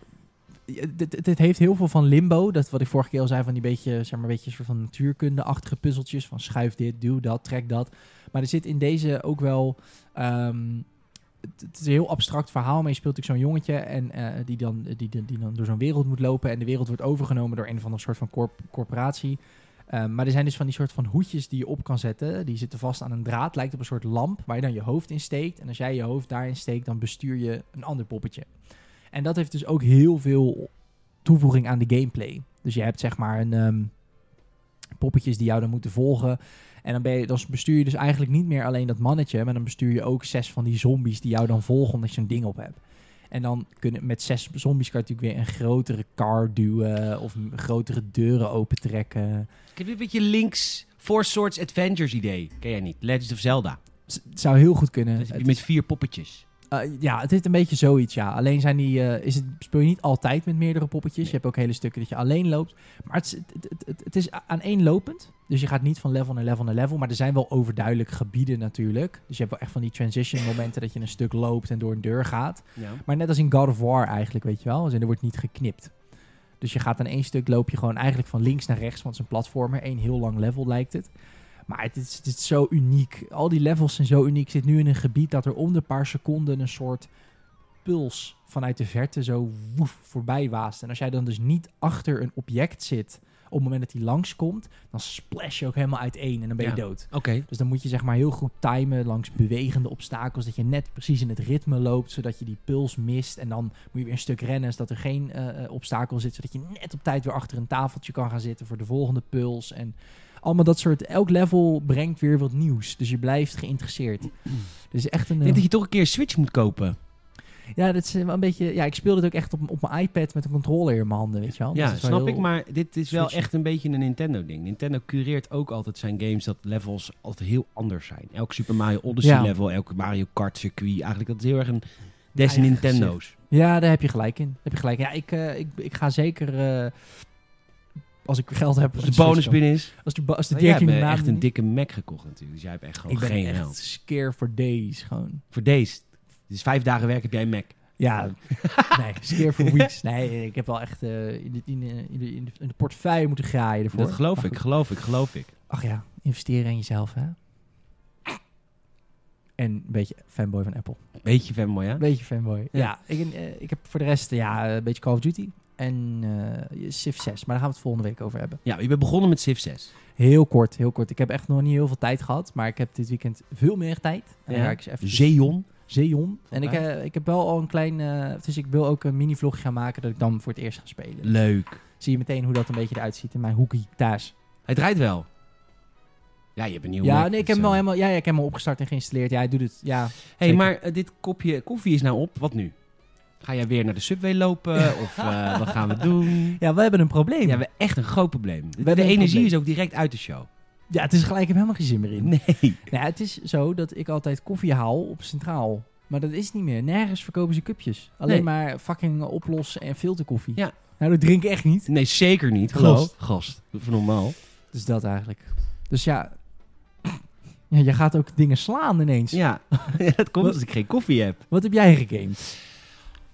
[SPEAKER 1] ja, dit, dit- dit heeft heel veel van limbo. Dat wat ik vorige keer al zei, van die beetje, zeg maar, beetje soort van natuurkunde-achtige puzzeltjes. Van schuif dit, duw dat, trek dat. Maar er zit in deze ook wel... ehm, het, het is een heel abstract verhaal, maar je speelt natuurlijk zo'n jongetje en eh, die, dan, die, die, die dan door zo'n wereld moet lopen. En de wereld wordt overgenomen door een of andere soort van corp- corporatie. Ehm, maar er zijn dus van die soort van hoedjes die je op kan zetten. Die zitten vast aan een draad, lijkt op een soort lamp waar je dan je hoofd in steekt. En als jij je hoofd daarin steekt, dan bestuur je een ander poppetje. En dat heeft dus ook heel veel toevoeging aan de gameplay. Dus je hebt zeg maar een ehm, poppetjes die jou dan moeten volgen. En dan, ben je, dan bestuur je dus eigenlijk niet meer alleen dat mannetje, maar dan bestuur je ook zes van die zombies die jou dan volgen omdat je zo'n ding op hebt. En dan kunnen met zes zombies kan je natuurlijk weer een grotere car duwen of m- grotere deuren opentrekken.
[SPEAKER 2] Ik heb een beetje links Four Swords Adventures idee. Ken jij niet? Legend of Zelda.
[SPEAKER 1] S- Het zou heel goed kunnen.
[SPEAKER 2] Dat heb je
[SPEAKER 1] Het
[SPEAKER 2] met vier poppetjes.
[SPEAKER 1] Eh, ja, het is een beetje zoiets, ja. Alleen zijn die, eh, is het, speel je niet altijd met meerdere poppetjes. Je hebt ook hele stukken dat je alleen loopt. Maar het is, het, het, het, het is a- aaneenlopend. Dus je gaat niet van level naar level naar level. Maar er zijn wel overduidelijk gebieden natuurlijk. Dus je hebt wel echt van die transition momenten dat je een stuk loopt en door een deur gaat.
[SPEAKER 2] Ja.
[SPEAKER 1] Maar net als in God of War eigenlijk, weet je wel. Dus er wordt niet geknipt. Dus je gaat aan één stuk loop je gewoon eigenlijk van links naar rechts. Want het is een platformer. Eén heel lang level lijkt het. Maar het is, het is zo uniek. Al die levels zijn zo uniek. Ik zit nu in een gebied dat er om de paar seconden een soort puls vanuit de verte zo woef voorbij waast. En als jij dan dus niet achter een object zit op het moment dat hij langskomt, dan splash je ook helemaal uiteen en dan ben je
[SPEAKER 2] Ja.
[SPEAKER 1] dood.
[SPEAKER 2] Oké.
[SPEAKER 1] Dus dan moet je zeg maar heel goed timen langs bewegende obstakels. Dat je net precies in het ritme loopt, zodat je die puls mist. En dan moet je weer een stuk rennen, zodat er geen eh, eh, obstakel zit. Zodat je net op tijd weer achter een tafeltje kan gaan zitten voor de volgende puls. En allemaal dat soort... Elk level brengt weer wat nieuws. Dus je blijft geïnteresseerd. Dus echt een...
[SPEAKER 2] Ik
[SPEAKER 1] eh,
[SPEAKER 2] denk dat je toch een keer een Switch moet kopen.
[SPEAKER 1] ja, dat is eh, wel een beetje... Ja, ik speelde het ook echt op, op mijn iPad met een controller in mijn handen, weet je wel.
[SPEAKER 2] Ja,
[SPEAKER 1] Dat is wel
[SPEAKER 2] snap
[SPEAKER 1] heel-
[SPEAKER 2] ik, maar dit is wel
[SPEAKER 1] switchen.
[SPEAKER 2] echt een beetje een Nintendo-ding. Nintendo cureert ook altijd zijn games dat levels altijd heel anders zijn. Elk Super Mario
[SPEAKER 1] Ja.
[SPEAKER 2] Odyssey-level, elk Mario Kart-circuit. Eigenlijk dat is heel erg een des
[SPEAKER 1] Eigen
[SPEAKER 2] Nintendo's.
[SPEAKER 1] Ja, daar heb je gelijk in. Daar heb je gelijk. in. Ja, ik, eh, ik, ik ga zeker... eh, als ik geld heb...
[SPEAKER 2] Als
[SPEAKER 1] een
[SPEAKER 2] de
[SPEAKER 1] Switch
[SPEAKER 2] bonus
[SPEAKER 1] kopen.
[SPEAKER 2] binnen is.
[SPEAKER 1] Als de, ba- als de
[SPEAKER 2] Maar jij
[SPEAKER 1] dertiende
[SPEAKER 2] hebt eh,
[SPEAKER 1] maand
[SPEAKER 2] echt een
[SPEAKER 1] niet-
[SPEAKER 2] dikke Mac gekocht natuurlijk. Dus jij hebt echt gewoon
[SPEAKER 1] Ik ben
[SPEAKER 2] geen
[SPEAKER 1] echt
[SPEAKER 2] geld.
[SPEAKER 1] scare for days gewoon.
[SPEAKER 2] Voor deze. Dus vijf dagen werk heb jij een Mac.
[SPEAKER 1] Ja, <laughs> nee, scare for
[SPEAKER 2] <laughs>
[SPEAKER 1] weeks. Nee, ik heb wel echt eh, in, de, in, de, in, de, in de- in de portefeuille moeten graaien ervoor.
[SPEAKER 2] Dat geloof
[SPEAKER 1] Maar
[SPEAKER 2] ik,
[SPEAKER 1] goed.
[SPEAKER 2] geloof ik, geloof ik.
[SPEAKER 1] Ach ja, investeren in jezelf, hè. En een beetje fanboy van Apple.
[SPEAKER 2] Beetje fanboy, hè?
[SPEAKER 1] Een beetje fanboy.
[SPEAKER 2] Ja.
[SPEAKER 1] Ja, ik, eh, ik heb voor de rest eh, ja, een beetje Call of Duty en eh Civ 6. Maar daar gaan we het volgende week over hebben.
[SPEAKER 2] Ja, je bent begonnen met Civ 6.
[SPEAKER 1] Heel kort, heel kort. Ik heb echt nog niet heel veel tijd gehad. Maar ik heb dit weekend veel meer tijd. En
[SPEAKER 2] Ja.
[SPEAKER 1] dan ga ik eens even...
[SPEAKER 2] Zeon.
[SPEAKER 1] Zeon. En ik,
[SPEAKER 2] Vandaar.
[SPEAKER 1] eh, ik heb wel al een klein... eh, dus ik wil ook een mini-vlog gaan maken dat ik dan voor het eerst ga
[SPEAKER 2] Mm.
[SPEAKER 1] spelen.
[SPEAKER 2] Leuk.
[SPEAKER 1] Zie je meteen hoe dat een beetje eruit ziet in mijn hoekie thuis.
[SPEAKER 2] Hij draait wel. Ja, je hebt een nieuwe
[SPEAKER 1] ja,
[SPEAKER 2] Mac,
[SPEAKER 1] nee, ik heb
[SPEAKER 2] dus,
[SPEAKER 1] hem al
[SPEAKER 2] eh,
[SPEAKER 1] helemaal, ja, ja, ik heb hem al opgestart en geïnstalleerd. Ja, hij doet het. Ja,
[SPEAKER 2] Hé, hey,
[SPEAKER 1] Zeker.
[SPEAKER 2] maar eh, dit kopje koffie is nou op. Wat nu? Ga jij weer naar de subway lopen? of eh, wat gaan we
[SPEAKER 1] <laughs>
[SPEAKER 2] doen?
[SPEAKER 1] ja we hebben een probleem.
[SPEAKER 2] Ja, we
[SPEAKER 1] Ja,
[SPEAKER 2] hebben echt een groot probleem. De,
[SPEAKER 1] hebben een
[SPEAKER 2] energie
[SPEAKER 1] probleem.
[SPEAKER 2] is ook direct uit de show.
[SPEAKER 1] het is gelijk, ik heb helemaal geen zin meer in.
[SPEAKER 2] Nee.
[SPEAKER 1] Nou, het is zo dat ik altijd koffie haal op Centraal. Maar dat is niet meer. Nergens verkopen ze cupjes. Alleen
[SPEAKER 2] Nee.
[SPEAKER 1] maar fucking oplossen en filterkoffie.
[SPEAKER 2] Ja.
[SPEAKER 1] Nou, dat drink ik echt niet.
[SPEAKER 2] Nee, zeker niet.
[SPEAKER 1] Gast.
[SPEAKER 2] Gast. Gast. Doe Even normaal.
[SPEAKER 1] Dus dat eigenlijk. Dus ja... <clears throat> ja je gaat ook dingen slaan ineens. <laughs>
[SPEAKER 2] Ja. Ja, dat komt als ik geen koffie heb.
[SPEAKER 1] Wat heb jij gegamed?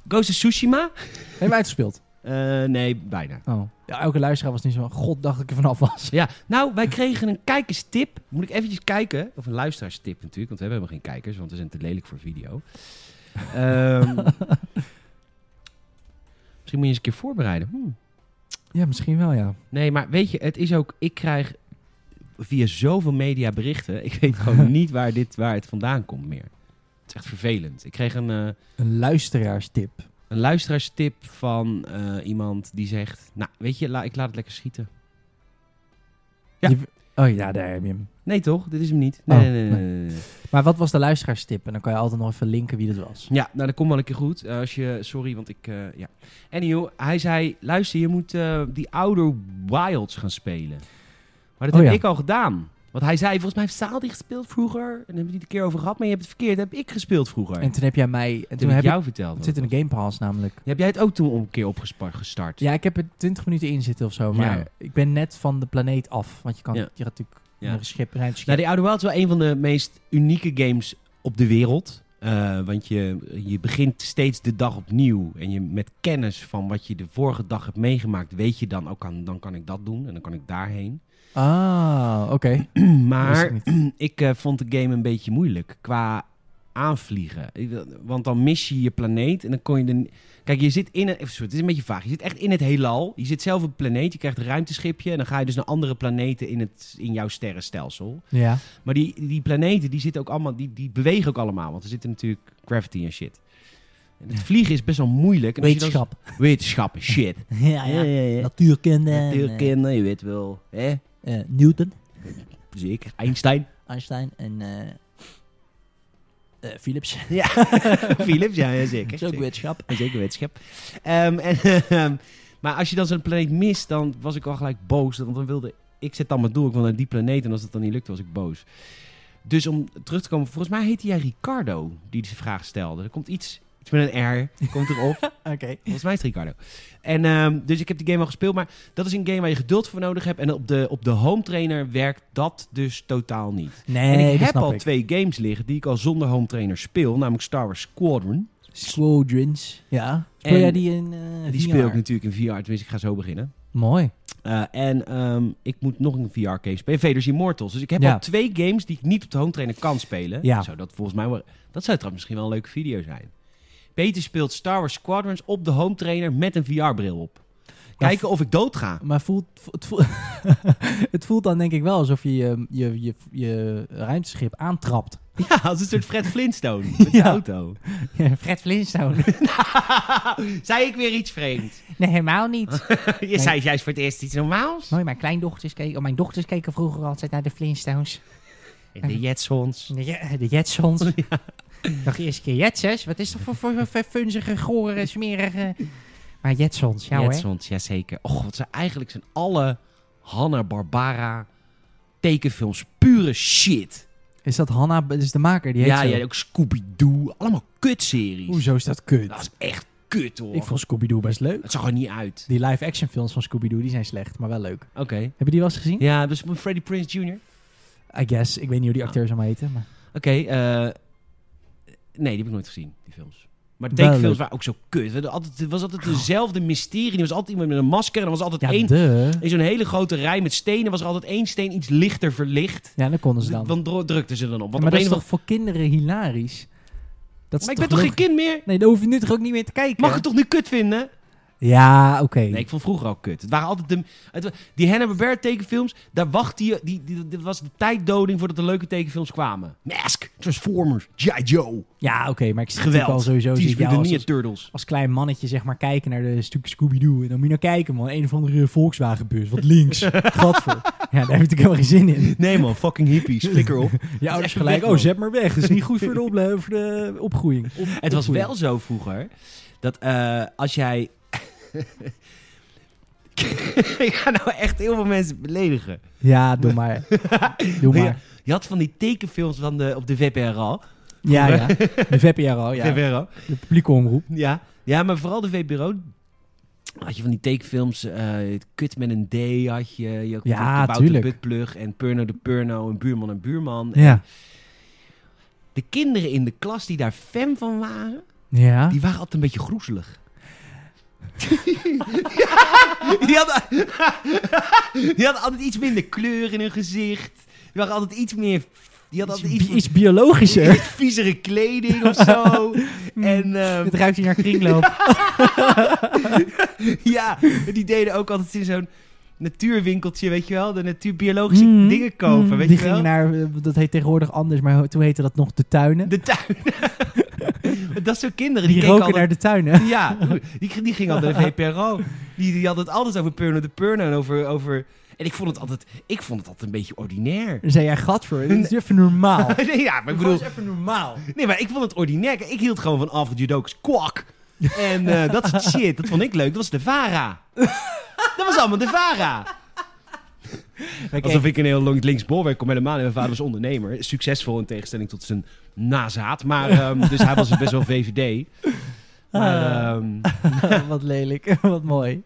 [SPEAKER 2] Ghost of Tsushima?
[SPEAKER 1] Heb je uitgespeeld?
[SPEAKER 2] Eh, nee, bijna.
[SPEAKER 1] Oh. Ja, elke luisteraar was nu zo van, god dacht ik er vanaf was. <laughs>
[SPEAKER 2] Ja, nou, wij kregen een kijkerstip. Moet ik eventjes kijken. Of een luisteraarstip natuurlijk, want we hebben helemaal geen kijkers, want we zijn te lelijk voor video. Ehm, <laughs> misschien moet je eens een keer voorbereiden. Hmm.
[SPEAKER 1] Ja, misschien wel ja.
[SPEAKER 2] Nee, maar weet je, het is ook. Ik krijg via zoveel media berichten. Ik weet gewoon niet waar, dit, waar het vandaan komt meer. Het is echt vervelend. Ik kreeg een, eh,
[SPEAKER 1] Een luisteraarstip.
[SPEAKER 2] een luisteraarstip van eh, iemand die zegt: Nou, weet je, la, ik laat het lekker schieten. Ja.
[SPEAKER 1] Je- oh ja, daar heb je hem.
[SPEAKER 2] Nee, toch? Dit is hem niet. Nee,
[SPEAKER 1] Oh,
[SPEAKER 2] nee, nee, nee, nee, nee.
[SPEAKER 1] Maar wat was de luisteraarstip? En dan kan je altijd nog even linken wie dat was.
[SPEAKER 2] Ja, nou, dat komt wel een keer goed. Eh, als je, sorry, want ik. eh ja. Anyhow, hij zei: Luister, je moet eh, die Outer Wilds gaan spelen. Maar dat
[SPEAKER 1] Oh
[SPEAKER 2] heb
[SPEAKER 1] ja.
[SPEAKER 2] ik al gedaan. Want hij zei: Volgens mij heeft Saal die gespeeld vroeger. En daar hebben we het niet een keer over gehad. Maar je hebt het verkeerd. Dat heb ik gespeeld vroeger.
[SPEAKER 1] En toen heb jij mij... En
[SPEAKER 2] Dat
[SPEAKER 1] toen
[SPEAKER 2] heb
[SPEAKER 1] heb
[SPEAKER 2] ik
[SPEAKER 1] ik...
[SPEAKER 2] jou verteld.
[SPEAKER 1] Het
[SPEAKER 2] wat
[SPEAKER 1] zit in
[SPEAKER 2] het
[SPEAKER 1] de Game Pass namelijk.
[SPEAKER 2] was. Heb jij het ook toen een keer opgestart?
[SPEAKER 1] Ja, ik heb er 20 minuten in zitten of zo. Maar
[SPEAKER 2] Ja.
[SPEAKER 1] ik ben net van de planeet af. Want je, kan,
[SPEAKER 2] Ja.
[SPEAKER 1] je gaat natuurlijk
[SPEAKER 2] Ja.
[SPEAKER 1] naar een schip, naar een schip.
[SPEAKER 2] Nou, die Outer Wilds is wel een van de meest unieke games op de wereld. Eh, want je, je begint steeds de dag opnieuw. En je met kennis van wat je de vorige dag hebt meegemaakt, weet je dan ook aan, dan kan ik dat doen en dan kan ik daarheen. <clears throat>
[SPEAKER 1] Ah, oké. Wist ik
[SPEAKER 2] maar
[SPEAKER 1] niet.
[SPEAKER 2] <clears throat> ik eh, vond de game een beetje moeilijk qua aanvliegen. Ik wil- Want dan mis je je planeet en dan kon je er... ni- Kijk, je zit in een... Sorry, het is een beetje vaag. Je zit echt in het heelal. Je zit zelf op een planeet, je krijgt een ruimteschipje... en dan ga je dus naar andere planeten in, het, in jouw sterrenstelsel.
[SPEAKER 1] Ja.
[SPEAKER 2] Maar die, die planeten, die zitten ook allemaal, die, die bewegen ook allemaal. Want er zitten natuurlijk gravity en shit. En het vliegen is best wel moeilijk. En als je dan-
[SPEAKER 1] Wetenschap.
[SPEAKER 2] Wetenschap,
[SPEAKER 1] <laughs>
[SPEAKER 2] shit.
[SPEAKER 1] Nou ja,
[SPEAKER 2] <laughs>
[SPEAKER 1] eh,
[SPEAKER 2] Ja,
[SPEAKER 1] ja.
[SPEAKER 2] ja, ja.
[SPEAKER 1] Natuurkunde. en,
[SPEAKER 2] Natuurkunde, je weet wel. Hè?
[SPEAKER 1] eh, eh, Newton,
[SPEAKER 2] Zeker.
[SPEAKER 1] <laughs>
[SPEAKER 2] Einstein.
[SPEAKER 1] Einstein en eh, eh, Philips.
[SPEAKER 2] Philips, ja, ja,
[SPEAKER 1] <laughs> Dat
[SPEAKER 2] zeker.
[SPEAKER 1] is ook
[SPEAKER 2] Zeker.
[SPEAKER 1] wetenschap.
[SPEAKER 2] Dat is ook een wetenschap. Ehm, en, <laughs> ehm, maar als je dan zo'n planeet mist, dan was ik al gelijk boos. Want dan wilde ik zet dan mijn doel, ik wil naar die planeet. En als dat dan niet lukte, was ik boos. Dus om terug te komen, volgens mij heette jij Ricardo die deze vraag stelde. Er komt iets, iets met een R, komt erop.
[SPEAKER 1] Oké.
[SPEAKER 2] volgens mij is het Ricardo. En, ehm, dus ik heb die game al gespeeld, maar dat is een game waar je geduld voor nodig hebt. En op de, op de home trainer werkt dat dus totaal niet.
[SPEAKER 1] Nee,
[SPEAKER 2] en ik
[SPEAKER 1] dat
[SPEAKER 2] heb
[SPEAKER 1] snap
[SPEAKER 2] al
[SPEAKER 1] ik.
[SPEAKER 2] twee games liggen die ik al zonder home trainer speel, namelijk Star Wars Squadron.
[SPEAKER 1] Squadrons. Ja. Speel
[SPEAKER 2] En
[SPEAKER 1] jij die in eh,
[SPEAKER 2] Die
[SPEAKER 1] VR?
[SPEAKER 2] speel ik natuurlijk in VR, tenminste ik ga zo beginnen.
[SPEAKER 1] Mooi.
[SPEAKER 2] Eh, en ehm, ik moet nog een VR-game spelen, Vader's Immortals. Dus ik heb
[SPEAKER 1] Ja.
[SPEAKER 2] al twee games die ik niet op de home trainer kan spelen.
[SPEAKER 1] Ja.
[SPEAKER 2] Zou dat, volgens mij, wel- dat zou trouwens misschien wel een leuke video zijn. Peter speelt Star Wars Squadrons op de home trainer met een VR-bril op. Kijken of ik doodga.
[SPEAKER 1] Maar voelt, vo- het, voelt, <laughs> het voelt dan denk ik wel alsof je je, je, je, je ruimteschip aantrapt.
[SPEAKER 2] Ja, <laughs> als een soort Fred Flintstone met <laughs> zijn
[SPEAKER 1] Ja.
[SPEAKER 2] auto.
[SPEAKER 1] Fred Flintstone.
[SPEAKER 2] zei ik weer iets <laughs> vreemds?
[SPEAKER 1] Nee, helemaal niet. <laughs>
[SPEAKER 2] Je zei juist voor het eerst iets normaals.
[SPEAKER 1] Mooi, mijn kleindochters keken, oh, mijn dochters keken vroeger altijd naar de Flintstones.
[SPEAKER 2] De Jetsons.
[SPEAKER 1] De, Je- de Jetsons. Nog eerst keer Jetsons. Wat is dat voor, voor, voor funzige, gore, smerige... Maar Jetsons, ja hoor.
[SPEAKER 2] Jetsons, jazeker. Och, wat zijn eigenlijk zijn alle Hanna-Barbara tekenfilms pure shit.
[SPEAKER 1] <laughs> Is dat Hanna, dat is de maker, die heet
[SPEAKER 2] Ja,
[SPEAKER 1] zo.
[SPEAKER 2] ja, ook Scooby-Doo. Allemaal kutseries.
[SPEAKER 1] Hoezo is dat kut?
[SPEAKER 2] Dat is echt kut, hoor.
[SPEAKER 1] ik vond Scooby-Doo best leuk.
[SPEAKER 2] Het zag er niet uit.
[SPEAKER 1] Die live-action films van Scooby-Doo, die zijn slecht, maar wel leuk.
[SPEAKER 2] Oké.
[SPEAKER 1] Heb je die wel eens gezien?
[SPEAKER 2] Ja, dus met Freddie Prince Jr. Oké,
[SPEAKER 1] I guess. Ik weet niet hoe die acteurs allemaal heten, maar...
[SPEAKER 2] eh, Nee, die heb ik nooit gezien, die films. Maar de
[SPEAKER 1] Wel
[SPEAKER 2] tekenfilms
[SPEAKER 1] leuk.
[SPEAKER 2] waren ook zo kut. Het was altijd, het was altijd dezelfde mysterie. Er was altijd iemand met een masker. En er was altijd
[SPEAKER 1] Ja,
[SPEAKER 2] één...
[SPEAKER 1] de...
[SPEAKER 2] In zo'n hele grote rij met stenen was er altijd één steen iets lichter verlicht.
[SPEAKER 1] Ja, dat konden ze dan.
[SPEAKER 2] Want dro- drukten ze dan op.
[SPEAKER 1] Ja, maar
[SPEAKER 2] Want
[SPEAKER 1] dat
[SPEAKER 2] op een
[SPEAKER 1] is
[SPEAKER 2] of
[SPEAKER 1] toch voor kinderen hilarisch? Dat is
[SPEAKER 2] Maar ik ben toch geen
[SPEAKER 1] leuk?
[SPEAKER 2] kind meer?
[SPEAKER 1] Nee, dan hoef je nu toch ook niet meer te kijken?
[SPEAKER 2] Mag ik het toch nu kut vinden?
[SPEAKER 1] Ja, oké.
[SPEAKER 2] Nee, ik vond vroeger al kut. Het waren altijd de, het wa- die Hanna-Barbera tekenfilms, daar wachtte je... Die, die, dit was de tijddoding voordat de leuke tekenfilms kwamen. Mask, Transformers, G.I. Joe,
[SPEAKER 1] Ja, oké, maar ik zit natuurlijk al
[SPEAKER 2] Geweld,
[SPEAKER 1] sowieso...
[SPEAKER 2] Teenage
[SPEAKER 1] zit jou
[SPEAKER 2] Mutant
[SPEAKER 1] als,
[SPEAKER 2] Ninja Turtles.
[SPEAKER 1] als klein mannetje zeg maar kijken naar de stuk Scooby-Doo. En dan moet je nou kijken, man. Een of andere Volkswagenbus, wat <laughs> links. Godver. Ja, daar heb ik natuurlijk helemaal geen zin in.
[SPEAKER 2] Nee man, fucking hippies, flikker <laughs> op.
[SPEAKER 1] Je ouders
[SPEAKER 2] echt
[SPEAKER 1] gelijk,
[SPEAKER 2] weg,
[SPEAKER 1] oh,
[SPEAKER 2] man.
[SPEAKER 1] zet maar weg. Dat is niet goed voor
[SPEAKER 2] <laughs>
[SPEAKER 1] de, ople- voor de opgroeiing.
[SPEAKER 2] Het was
[SPEAKER 1] opvoeding.
[SPEAKER 2] wel zo vroeger dat eh, als jij. <laughs> Ik ga nou echt heel veel mensen beledigen.
[SPEAKER 1] Ja, doe maar.
[SPEAKER 2] <laughs>
[SPEAKER 1] Doe
[SPEAKER 2] Ja.
[SPEAKER 1] maar.
[SPEAKER 2] Je had van die tekenfilms van de, op de VPRO.
[SPEAKER 1] Ja, ja. De VPRO, ja.
[SPEAKER 2] VPRO.
[SPEAKER 1] De publieke omroep.
[SPEAKER 2] Ja. ja, maar vooral de VPRO. Had je van die tekenfilms, eh, het Kut met een D had je. je had
[SPEAKER 1] Ja,
[SPEAKER 2] Kabouter
[SPEAKER 1] tuurlijk.
[SPEAKER 2] Buttplug en Purno de Purno en Buurman en Buurman.
[SPEAKER 1] Ja.
[SPEAKER 2] De kinderen in de klas die daar fan van waren,
[SPEAKER 1] Ja.
[SPEAKER 2] Die waren altijd een beetje
[SPEAKER 1] <laughs>
[SPEAKER 2] groezelig. die, hadden, die hadden altijd iets minder kleur in hun gezicht. Die waren altijd iets meer... Die hadden altijd
[SPEAKER 1] Iets,
[SPEAKER 2] iets,
[SPEAKER 1] iets biologischer.
[SPEAKER 2] <laughs> iets viezere kleding of
[SPEAKER 1] <laughs>
[SPEAKER 2] zo.
[SPEAKER 1] Hmm.
[SPEAKER 2] en ehm,
[SPEAKER 1] Het ruikt hier naar kringloop.
[SPEAKER 2] ja, die deden ook altijd in zo'n natuurwinkeltje, weet je wel? De natuurbiologische
[SPEAKER 1] Mm,
[SPEAKER 2] dingen kopen,
[SPEAKER 1] mm,
[SPEAKER 2] weet
[SPEAKER 1] die
[SPEAKER 2] je wel?
[SPEAKER 1] gingen naar, eh, dat heet tegenwoordig anders, maar ho- toen heette dat nog de tuinen.
[SPEAKER 2] De tuin. <laughs> dat soort kinderen,
[SPEAKER 1] die
[SPEAKER 2] die,
[SPEAKER 1] roken
[SPEAKER 2] keken altijd
[SPEAKER 1] naar de tuinen. <laughs>
[SPEAKER 2] <laughs> Ja, die, die ging al naar de VPRO. Die, die had het altijd over Purno de Purno en over, over... En ik vond het altijd, ik vond het altijd een beetje ordinair. <laughs>
[SPEAKER 1] Dan zei jij, gadver, dit is even normaal. Ik
[SPEAKER 2] Nee, ja, maar <laughs> ik bedoel...
[SPEAKER 1] even normaal.
[SPEAKER 2] Nee, maar ik vond het ordinair. Kijk, Ik hield gewoon van Alfred Judokus kwak. En <laughs> eh, dat soort shit, dat vond ik leuk. Dat was de Vara. Dat was allemaal de Vara. Alsof ik een heel lang links bolwerk kom. Helemaal niet. Mijn vader was ondernemer. Succesvol in tegenstelling tot zijn nazaat. Maar, ehm, dus hij was best wel VVD. Maar, ehm,
[SPEAKER 1] Wat lelijk, <laughs> wat mooi.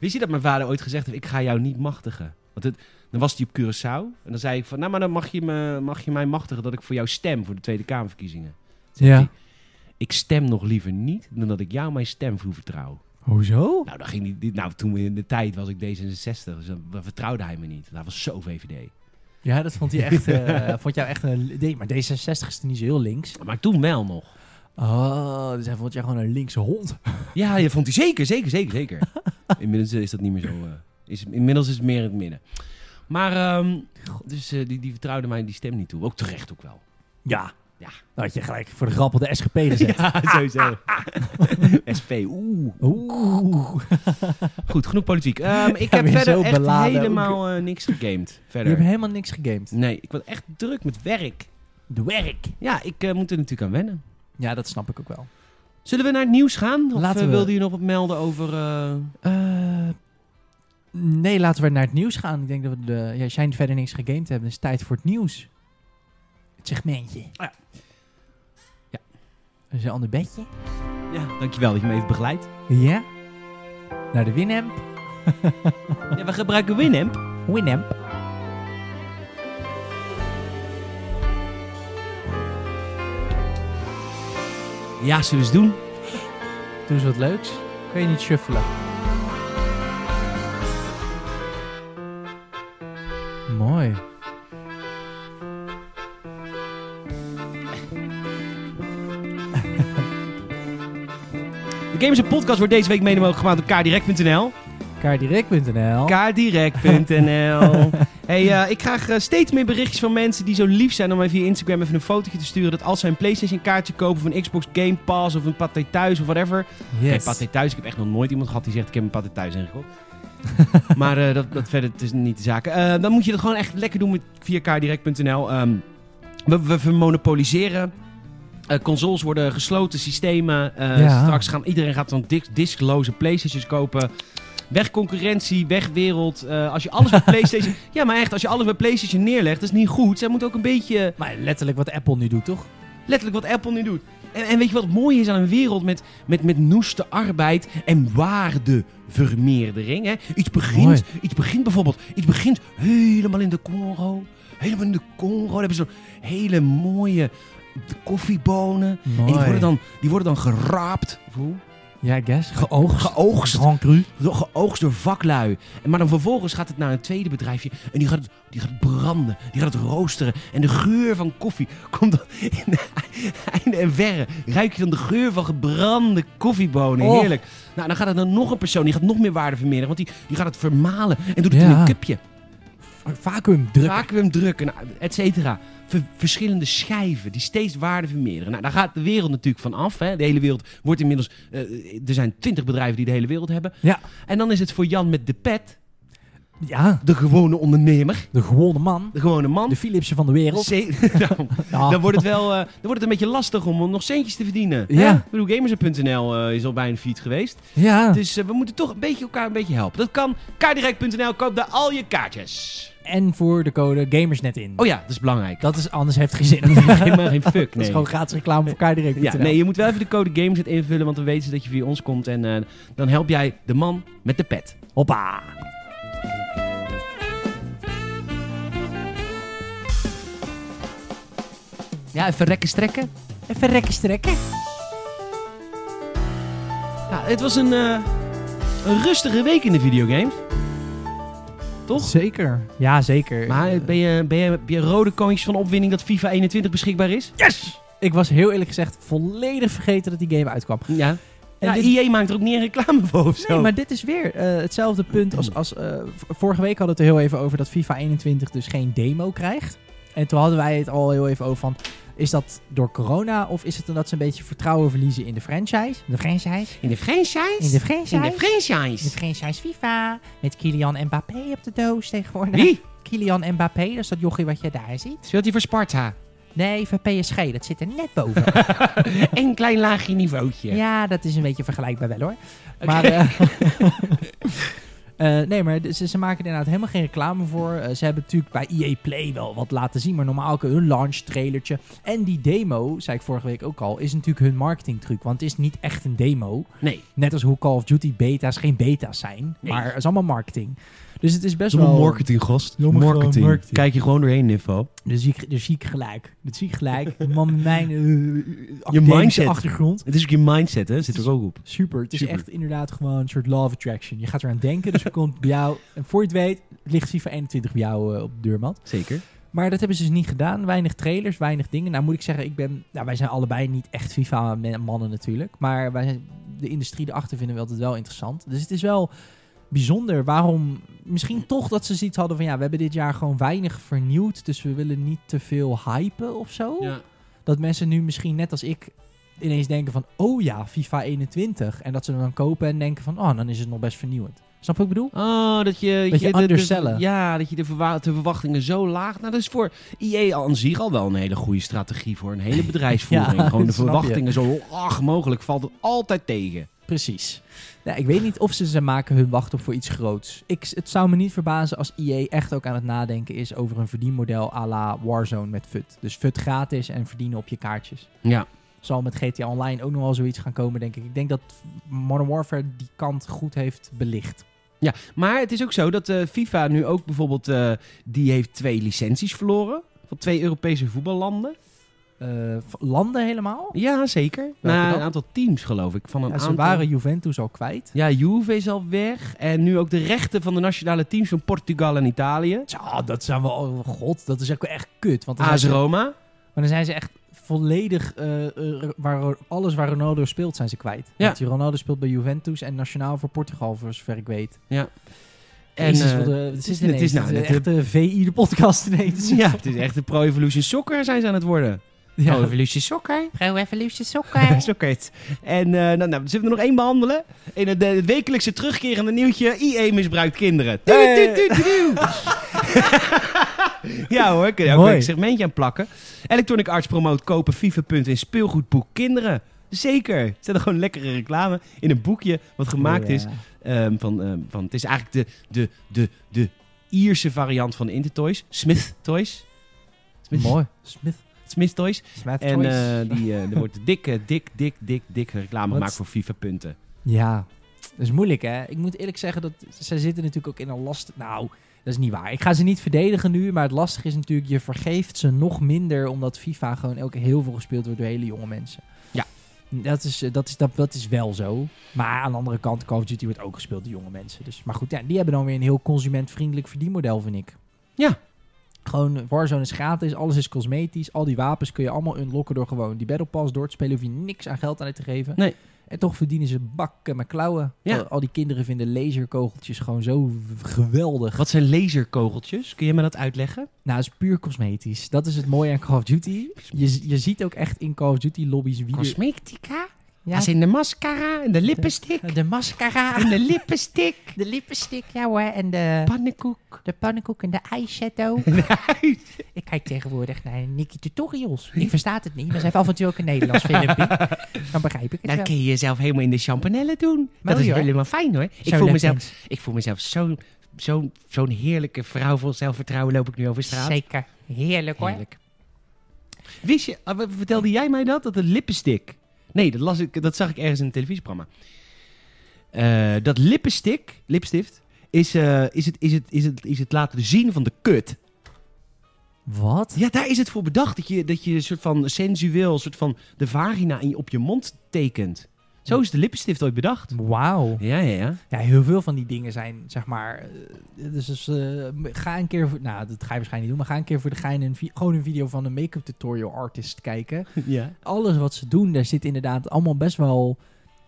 [SPEAKER 2] Wist je dat mijn vader ooit gezegd heeft, ik ga jou niet machtigen? Want het, dan was hij op Curaçao. En dan zei ik van, nou maar dan mag je, me, mag je mij machtigen dat ik voor jou stem voor de Tweede Kamerverkiezingen.
[SPEAKER 1] Ja.
[SPEAKER 2] Ik stem nog liever niet dan dat ik jou mijn stem voor vertrouw.
[SPEAKER 1] Hoezo?
[SPEAKER 2] Nou, dan ging die- die, nou toen in de tijd was ik D66, dus dan vertrouwde hij me niet. Dat was zo VVD.
[SPEAKER 1] Ja, dat vond hij echt,
[SPEAKER 2] <laughs>
[SPEAKER 1] eh, vond jou echt een... nee, Maar D66 is er niet zo heel links.
[SPEAKER 2] Maar toen wel nog.
[SPEAKER 1] Oh, dus hij vond jou gewoon een linkse hond.
[SPEAKER 2] Ja, dat vond hij zeker, zeker, zeker, zeker. Inmiddels is dat niet meer zo. eh, is, inmiddels is het meer het midden. Maar, ehm, dus eh, die, die vertrouwde mij die stem niet toe. Ook terecht ook wel.
[SPEAKER 1] Ja.
[SPEAKER 2] Ja.
[SPEAKER 1] Dan had je gelijk voor de grap op de SGP <laughs> gezet.
[SPEAKER 2] Ja, <laughs> sowieso. SP, oeh.
[SPEAKER 1] Oeh.
[SPEAKER 2] Goed, genoeg politiek. Ehm, ik
[SPEAKER 1] Ja,
[SPEAKER 2] heb
[SPEAKER 1] weer zo
[SPEAKER 2] verder echt
[SPEAKER 1] beladen ook.
[SPEAKER 2] helemaal eh, niks gegamed.
[SPEAKER 1] Je hebt
[SPEAKER 2] Verder.
[SPEAKER 1] helemaal niks gegamed.
[SPEAKER 2] Nee, ik was echt druk met werk.
[SPEAKER 1] De werk.
[SPEAKER 2] Ja, ik eh, moet er natuurlijk aan wennen.
[SPEAKER 1] Ja, dat snap ik ook wel.
[SPEAKER 2] Zullen we naar het nieuws gaan? Of
[SPEAKER 1] Laten
[SPEAKER 2] eh,
[SPEAKER 1] we.
[SPEAKER 2] wilde je nog wat melden over... eh,
[SPEAKER 1] Eh, nee, laten we naar het nieuws gaan. Ik denk dat we de. Ja, als jij verder niks gegamed hebt, dan is het tijd voor het nieuws. Het segmentje.
[SPEAKER 2] ja. Ja.
[SPEAKER 1] Dat is een ander bedje.
[SPEAKER 2] Ja, dankjewel dat je me even begeleidt.
[SPEAKER 1] Ja. Naar de Winamp.
[SPEAKER 2] Ja, we gebruiken Winamp.
[SPEAKER 1] Winamp.
[SPEAKER 2] Ja, zullen we eens doen.
[SPEAKER 1] Doe eens wat leuks. Kun je niet shuffelen. Mooi.
[SPEAKER 2] De Gamers en Podcast wordt deze week mede mogelijk gemaakt door kaardirect.nl.
[SPEAKER 1] Kaardirect.nl.
[SPEAKER 2] kaardirect.nl Hey, eh, ik krijg eh, steeds meer berichtjes van mensen die zo lief zijn om mij via Instagram even een fotootje te sturen. Dat als zij een PlayStation kaartje kopen of een Xbox Game Pass of een Pathé Thuis of whatever,
[SPEAKER 1] yes.
[SPEAKER 2] Geen paté thuis. Ik heb echt nog nooit iemand gehad die zegt: Ik heb een paté
[SPEAKER 1] <laughs>
[SPEAKER 2] thuis ingekocht. maar eh, dat, dat verder het is niet de zaak. Eh, dan moet je dat gewoon echt lekker doen met 4kdirect.nl. Ehm, we, we vermonopoliseren. Eh, consoles worden gesloten, systemen. eh,
[SPEAKER 1] Ja.
[SPEAKER 2] Straks gaan iedereen gaat dan dis- diskloze PlayStations kopen. Weg concurrentie, weg wereld. Eh, als je
[SPEAKER 1] <laughs>
[SPEAKER 2] alles bij PlayStation. ja, maar echt, als je alles bij PlayStation neerlegt, dat is niet goed. Zij moeten ook een beetje
[SPEAKER 1] Maar letterlijk wat Apple nu doet, toch?
[SPEAKER 2] Letterlijk wat Apple nu doet. En, en weet je wat het mooie is aan een wereld met, met, met noeste arbeid en waardevermeerdering? Hè?
[SPEAKER 1] Mooi.
[SPEAKER 2] Iets, begint, iets begint bijvoorbeeld, iets begint helemaal in de Congo. Helemaal in de Congo. Dan hebben ze zo'n hele mooie koffiebonen. En die worden dan, die worden dan geraapt. Of hoe?
[SPEAKER 1] Ja, I guess. Geoogst.
[SPEAKER 2] Geoogst.
[SPEAKER 1] Grand cru.
[SPEAKER 2] Door- Geoogst door vaklui. En Maar dan vervolgens gaat het naar een tweede bedrijfje. En die gaat, het, die gaat het branden. Die gaat het roosteren. En de geur van koffie <laughs> komt dan in <laughs> einde en verre. Ruik je dan de geur van gebrande koffiebonen.
[SPEAKER 1] Oh.
[SPEAKER 2] Heerlijk. Nou, dan gaat het naar nog een persoon. Die gaat nog meer waarde vermeerderen. Want die, die gaat het vermalen. En doet het in
[SPEAKER 1] Ja.
[SPEAKER 2] een cupje.
[SPEAKER 1] Vacuum drukken.
[SPEAKER 2] Vacuüm drukken. Nou, et cetera. Ver- verschillende schijven die steeds waarde vermeerderen. Nou, daar gaat de wereld natuurlijk van af. Hè. De hele wereld wordt inmiddels... eh, er zijn twintig bedrijven die de hele wereld hebben.
[SPEAKER 1] Ja.
[SPEAKER 2] En dan is het voor Jan met de pet...
[SPEAKER 1] Ja,
[SPEAKER 2] De gewone ondernemer.
[SPEAKER 1] de gewone man.
[SPEAKER 2] De gewone man.
[SPEAKER 1] De Philipsen van de wereld. Ah.
[SPEAKER 2] Ze-
[SPEAKER 1] <laughs>
[SPEAKER 2] <laughs> nou,
[SPEAKER 1] Ja.
[SPEAKER 2] dan, wordt het wel, eh, dan wordt het een beetje lastig om nog centjes te verdienen.
[SPEAKER 1] Ja.
[SPEAKER 2] Hè? Ik bedoel, gamers.nl eh, is al bij een feed geweest.
[SPEAKER 1] ja.
[SPEAKER 2] Dus eh, we moeten toch een beetje elkaar een beetje helpen. Dat kan. Kaardirect.nl, koop daar al je kaartjes.
[SPEAKER 1] En voor de code gamersnet in.
[SPEAKER 2] Oh ja, dat is belangrijk.
[SPEAKER 1] Dat is, anders heeft het geen zin.
[SPEAKER 2] <laughs> Helemaal <laughs> geen fuck,
[SPEAKER 1] <laughs> Dat is
[SPEAKER 2] nee.
[SPEAKER 1] gewoon gratis reclame voor elkaar direct.
[SPEAKER 2] Ja, nee, je moet wel even de code GAMES invullen, want dan weten ze dat je via ons komt. En eh, dan help jij de man met de pet.
[SPEAKER 1] Hoppa.
[SPEAKER 2] Ja, even rekken strekken.
[SPEAKER 1] Even rekken strekken.
[SPEAKER 2] Ja, het was een, eh, een rustige week in de videogames. Toch?
[SPEAKER 1] Zeker. Ja, zeker.
[SPEAKER 2] Maar ben je, ben, je, ben je rode koontjes van opwinding dat FIFA 21 beschikbaar is?
[SPEAKER 1] yes! Ik was heel eerlijk gezegd volledig vergeten dat die game uitkwam.
[SPEAKER 2] Ja.
[SPEAKER 1] En
[SPEAKER 2] ja
[SPEAKER 1] dit-
[SPEAKER 2] EA maakt er ook niet een reclame voor of zo.
[SPEAKER 1] Nee, maar dit is weer eh, hetzelfde punt als... als eh, v- vorige week hadden we het er heel even over dat FIFA 21 dus geen demo krijgt. En toen hadden wij het al heel even over van... Is dat door corona of is het omdat ze een beetje vertrouwen verliezen in de franchise? De franchise?
[SPEAKER 2] In de franchise?
[SPEAKER 1] In de franchise?
[SPEAKER 2] In de
[SPEAKER 1] De
[SPEAKER 2] franchise.
[SPEAKER 1] franchise FIFA. Met Kylian Mbappé op de doos tegenwoordig.
[SPEAKER 2] Wie?
[SPEAKER 1] Kylian Mbappé, dat is dat jochie wat je daar ziet.
[SPEAKER 2] Speelt hij voor Sparta?
[SPEAKER 1] <laughs> Nee, van PSG, dat zit er net boven.
[SPEAKER 2] Eén klein laagje niveautje.
[SPEAKER 1] <laughs> Ja, dat is een beetje vergelijkbaar wel hoor. Maar, eh, eh, nee, maar ze, ze maken er inderdaad helemaal geen reclame voor. Eh, ze hebben natuurlijk bij EA Play wel wat laten zien. Maar normaal ook hun launch trailertje. En die demo, zei ik vorige week ook al, is natuurlijk hun marketing truc. Want het is niet echt een demo.
[SPEAKER 2] Nee,
[SPEAKER 1] Net als hoe Call of Duty beta's geen beta's zijn.
[SPEAKER 2] Nee.
[SPEAKER 1] Maar het is allemaal marketing. Dus het is best
[SPEAKER 2] zo'n
[SPEAKER 1] wel...
[SPEAKER 2] marketing gast.
[SPEAKER 1] Domme gewoon marketing.
[SPEAKER 2] Kijk je gewoon doorheen, Niffo.
[SPEAKER 1] Dus zie ik, dus zie ik gelijk. Dat zie ik gelijk. <laughs> Man, mijn eh, academische
[SPEAKER 2] mindset.
[SPEAKER 1] achtergrond.
[SPEAKER 2] Het is ook je mindset, hè? Zit er ook op.
[SPEAKER 1] Super. Het is
[SPEAKER 2] Super.
[SPEAKER 1] echt inderdaad gewoon een soort love attraction. Je gaat eraan denken, dus er komt bij jou... En voor je het weet, ligt FIFA 21 bij jou eh, op de deurmat.
[SPEAKER 2] Zeker.
[SPEAKER 1] Maar dat hebben ze dus niet gedaan. Weinig trailers, weinig dingen. Nou moet ik zeggen, ik ben... Nou, wij zijn allebei niet echt FIFA-mannen natuurlijk. Maar wij zijn, de industrie erachter vinden we altijd wel interessant. Dus het is wel bijzonder waarom... Misschien toch dat ze zoiets hadden van... Ja, we hebben dit jaar gewoon weinig vernieuwd. Dus we willen niet te veel hypen of zo. dat mensen nu misschien net als ik ineens denken van... Oh ja, FIFA 21. En dat ze hem dan kopen en denken van... Oh, dan is het nog best vernieuwend. Snap je wat ik bedoel?
[SPEAKER 2] Oh, dat je...
[SPEAKER 1] Beetje
[SPEAKER 2] de- de-
[SPEAKER 1] undersellen.
[SPEAKER 2] ja, dat je de, verwa- de verwachtingen zo laag... Nou, dat is voor EA aan zich al wel een hele goede strategie voor een
[SPEAKER 1] <laughs>
[SPEAKER 2] hele bedrijfsvoering.
[SPEAKER 1] Ja,
[SPEAKER 2] Gewoon de
[SPEAKER 1] dat <laughs> snap je.
[SPEAKER 2] verwachtingen zo laag mogelijk valt het altijd tegen.
[SPEAKER 1] Precies. Nou, ik weet niet of ze ze maken hun wacht op voor iets groots. Ik, het zou me niet verbazen als EA echt ook aan het nadenken is over een verdienmodel à la Warzone met FUT. Dus FUT gratis en verdienen op je kaartjes.
[SPEAKER 2] Ja.
[SPEAKER 1] Zal met GTA Online ook nog wel zoiets gaan komen, denk ik. Ik denk dat Modern Warfare die kant goed heeft belicht.
[SPEAKER 2] Ja, maar het is ook zo dat eh, FIFA nu ook bijvoorbeeld... eh, die heeft twee licenties verloren van twee Europese voetballanden.
[SPEAKER 1] Eh, v- landen helemaal?
[SPEAKER 2] Ja, zeker.
[SPEAKER 1] Oh. Welke
[SPEAKER 2] Na
[SPEAKER 1] dan?
[SPEAKER 2] een aantal teams, geloof ik. Van een
[SPEAKER 1] Ja, ze
[SPEAKER 2] aantal...
[SPEAKER 1] waren Juventus al kwijt.
[SPEAKER 2] Ja, Juve is al weg. En nu ook de rechten van de nationale teams van Portugal en Italië.
[SPEAKER 1] Tja, dat zijn we... Oh god, dat is ook wel echt kut. Want dan zijn
[SPEAKER 2] AS
[SPEAKER 1] ze-
[SPEAKER 2] Roma.
[SPEAKER 1] Maar dan zijn ze echt volledig, eh, eh, waar, alles waar Ronaldo speelt, zijn ze kwijt.
[SPEAKER 2] Ja.
[SPEAKER 1] Want die Ronaldo speelt bij Juventus en nationaal voor Portugal, voor zover ik weet.
[SPEAKER 2] En,
[SPEAKER 1] Jezus,
[SPEAKER 2] eh,
[SPEAKER 1] wat, eh, het is,
[SPEAKER 2] het is
[SPEAKER 1] ineens-
[SPEAKER 2] nou
[SPEAKER 1] het is
[SPEAKER 2] net-
[SPEAKER 1] echt de VI de podcast ineens.
[SPEAKER 2] ja, Oh, het is echt de Pro Evolution Soccer zijn ze aan het worden.
[SPEAKER 1] <laughs> Ja.
[SPEAKER 2] Evolution Soccer.
[SPEAKER 1] Pro Evolution <laughs>
[SPEAKER 2] <laughs>
[SPEAKER 1] Soccer.
[SPEAKER 2] Soccer. heet het. En eh, nou, nou, zullen we er nog één behandelen? In het, eh, het wekelijkse terugkerende nieuwtje, IE misbruikt kinderen. Tuut,
[SPEAKER 1] Hey.
[SPEAKER 2] tuut, tuut, <laughs> tuut. ja hoor, kun je ook
[SPEAKER 1] Mooi.
[SPEAKER 2] een segmentje aan plakken. Electronic Arts promoot kopen FIFA punt in speelgoedboek kinderen. Zeker. Zet er gewoon lekkere reclame in een boekje wat gemaakt is Ehm, van, ehm, van, het is eigenlijk de, de, de, de Ierse variant van Intertoys. Smith Toys. Smith,
[SPEAKER 1] Mooi. Smith.
[SPEAKER 2] Smith Toys.
[SPEAKER 1] Smith
[SPEAKER 2] En
[SPEAKER 1] Toys.
[SPEAKER 2] eh, die, eh, er <laughs> wordt dikke, dik, dik, dik, dik reclame
[SPEAKER 1] Wat?
[SPEAKER 2] gemaakt voor FIFA-punten.
[SPEAKER 1] Ja, dat is moeilijk hè. Ik moet eerlijk zeggen dat zij zitten natuurlijk ook in een last... Nou, dat is niet waar. Ik ga ze niet verdedigen nu, maar het lastige is natuurlijk, je vergeeft ze nog minder omdat FIFA gewoon elke heel veel gespeeld wordt door hele jonge mensen.
[SPEAKER 2] Ja.
[SPEAKER 1] Dat is, eh, dat, is, dat, dat is wel zo. Maar aan de andere kant, Call of Duty wordt ook gespeeld door jonge mensen. Dus, maar goed, ja, die hebben dan weer een heel consumentvriendelijk verdienmodel, vind ik.
[SPEAKER 2] Ja.
[SPEAKER 1] Gewoon, Warzone is gratis, alles is cosmetisch. Al die wapens kun je allemaal unlocken door gewoon die Battle Pass door te spelen. Hoef je niks aan geld aan uit te geven. En toch verdienen ze bakken met klauwen.
[SPEAKER 2] Ja.
[SPEAKER 1] Al, al die kinderen vinden laserkogeltjes gewoon zo w- geweldig.
[SPEAKER 2] Wat zijn laserkogeltjes? Kun je me dat uitleggen?
[SPEAKER 1] Nou, het is puur cosmetisch. Dat is het mooie aan Call of Duty. Je, z- je ziet ook echt in Call of Duty lobby's wie er...
[SPEAKER 2] Cosmetica?
[SPEAKER 1] Ja.
[SPEAKER 2] Als in de mascara en de lippenstick.
[SPEAKER 1] De mascara,
[SPEAKER 2] En de lippenstick.
[SPEAKER 1] de lippenstick, ja hoor. En de,
[SPEAKER 2] Pannenkoek.
[SPEAKER 1] de pannenkoek en de eyeshadow. Ik kijk tegenwoordig naar Nicky Tutorials. Ik versta het niet, maar ze heeft af en toe ook een Nederlands filmpje. Dan begrijp ik het
[SPEAKER 2] Dan
[SPEAKER 1] wel.
[SPEAKER 2] kun je jezelf helemaal in de champanelle doen. Dat is
[SPEAKER 1] hoor.
[SPEAKER 2] helemaal fijn hoor. Ik
[SPEAKER 1] Zo
[SPEAKER 2] voel
[SPEAKER 1] leuk
[SPEAKER 2] mezelf
[SPEAKER 1] mens.
[SPEAKER 2] Ik voel mezelf zo'n zo, zo'n heerlijke vrouw vol zelfvertrouwen loop ik nu over straat.
[SPEAKER 1] Zeker. Heerlijk hoor.
[SPEAKER 2] Heerlijk. Wist je, ah, wat- vertelde jij mij dat? Dat een lippenstick. Nee, dat, las ik, dat zag ik ergens in een televisieprogramma. Eh, dat lippenstick, lipstift, is, eh, is, het, is, het, is, het, is het laten zien van de kut.
[SPEAKER 1] Wat?
[SPEAKER 2] Ja, daar is het voor bedacht. Dat je, dat je een soort van sensueel, een soort van de vagina in, je- op je mond tekent. Zo is de lippenstift ooit bedacht.
[SPEAKER 1] Wauw.
[SPEAKER 2] Ja, ja, ja.
[SPEAKER 1] Ja, heel veel van die dingen zijn, zeg maar. eh, Dus, dus, eh, ga een keer voor. Nou, dat ga je waarschijnlijk niet doen. Maar ga een keer voor de gein een, vi- gewoon een video van een make-up tutorial artist kijken.
[SPEAKER 2] <laughs> ja.
[SPEAKER 1] Alles wat ze doen, daar zit inderdaad allemaal best wel.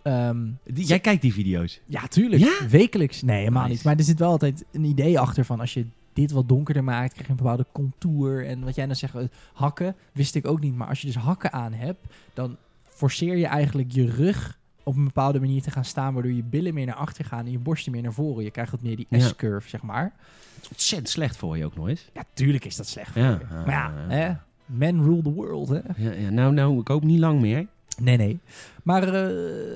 [SPEAKER 1] ehm,
[SPEAKER 2] Die, jij kijkt die video's.
[SPEAKER 1] ja, tuurlijk.
[SPEAKER 2] Ja?
[SPEAKER 1] Wekelijks. Nee, helemaal
[SPEAKER 2] Nice.
[SPEAKER 1] niet. Maar er zit wel altijd een idee achter van als je dit wat donkerder maakt, krijg je een bepaalde contour. En wat jij dan zegt, eh, hakken, wist ik ook niet. Maar als je dus hakken aan hebt, dan forceer je eigenlijk je rug op een bepaalde manier te gaan staan, waardoor je billen meer naar achter gaan en je borsten meer naar voren. Je krijgt wat meer die
[SPEAKER 2] Ja.
[SPEAKER 1] S-curve, zeg maar.
[SPEAKER 2] Het is ontzettend slecht voor je ook nog eens.
[SPEAKER 1] Ja, tuurlijk is dat slecht.
[SPEAKER 2] Ja, Ah.
[SPEAKER 1] voor je.
[SPEAKER 2] ja,
[SPEAKER 1] maar ja,
[SPEAKER 2] ja,
[SPEAKER 1] hè?
[SPEAKER 2] ja.
[SPEAKER 1] men rule the world, hè?
[SPEAKER 2] Ja, ja, nou, nou, ik hoop niet lang meer.
[SPEAKER 1] Nee, nee. Maar eh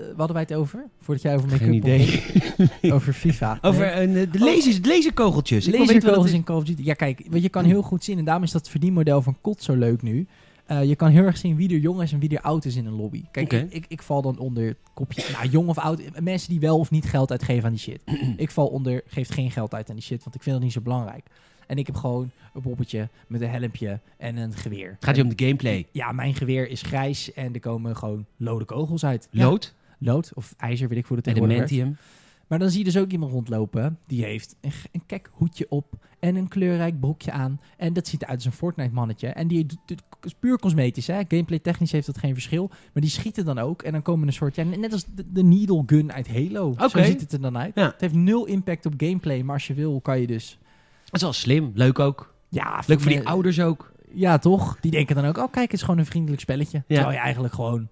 [SPEAKER 1] wat hadden wij het over? Voordat jij over make-up
[SPEAKER 2] Geen idee. <laughs>
[SPEAKER 1] opging. Over FIFA.
[SPEAKER 2] Over
[SPEAKER 1] Nee.
[SPEAKER 2] eh, de lasers, de laserkogeltjes. Dus Ik wil weten wat Hm. dat
[SPEAKER 1] Laserkogels in Call of Duty. Ja, kijk, want je kan heel goed zien. En daarom is dat verdienmodel van Kot zo leuk nu. Eh, je kan heel erg zien wie er jong is en wie er oud is in een lobby. Kijk,
[SPEAKER 2] Oké.
[SPEAKER 1] ik, ik, ik val dan onder het kopje. Nou, jong of oud. Mensen die wel of niet geld uitgeven aan die
[SPEAKER 2] <clears throat>
[SPEAKER 1] shit. ik val onder geeft geen geld uit aan die shit, want ik vind dat niet zo belangrijk. En ik heb gewoon een poppetje met een helmpje en een geweer.
[SPEAKER 2] Het gaat hier om de gameplay.
[SPEAKER 1] Ja, mijn geweer is grijs en er komen gewoon lode kogels uit. Ja,
[SPEAKER 2] Lood,
[SPEAKER 1] lood of ijzer, weet ik hoe dat tegenwoordig werkt.
[SPEAKER 2] adamantium.
[SPEAKER 1] Maar dan zie je dus ook iemand rondlopen. Die heeft een, g- een kek hoedje op. En een kleurrijk broekje aan. En dat ziet eruit als een Fortnite mannetje. En die doet doet- is puur cosmetisch. Hè? Gameplay technisch heeft dat geen verschil. Maar die schieten dan ook. En dan komen een soort... Ja, net als de, de needle gun uit Halo.
[SPEAKER 2] Oké.
[SPEAKER 1] Zo ziet het er dan uit.
[SPEAKER 2] Ja.
[SPEAKER 1] Het heeft nul impact op gameplay. Maar als je wil kan je dus...
[SPEAKER 2] Dat is wel slim, leuk ook.
[SPEAKER 1] Ja,
[SPEAKER 2] Leuk voor die
[SPEAKER 1] me-
[SPEAKER 2] ouders ook.
[SPEAKER 1] Ja, toch? Die denken dan ook, oh kijk, het is gewoon een vriendelijk spelletje. Terwijl je eigenlijk gewoon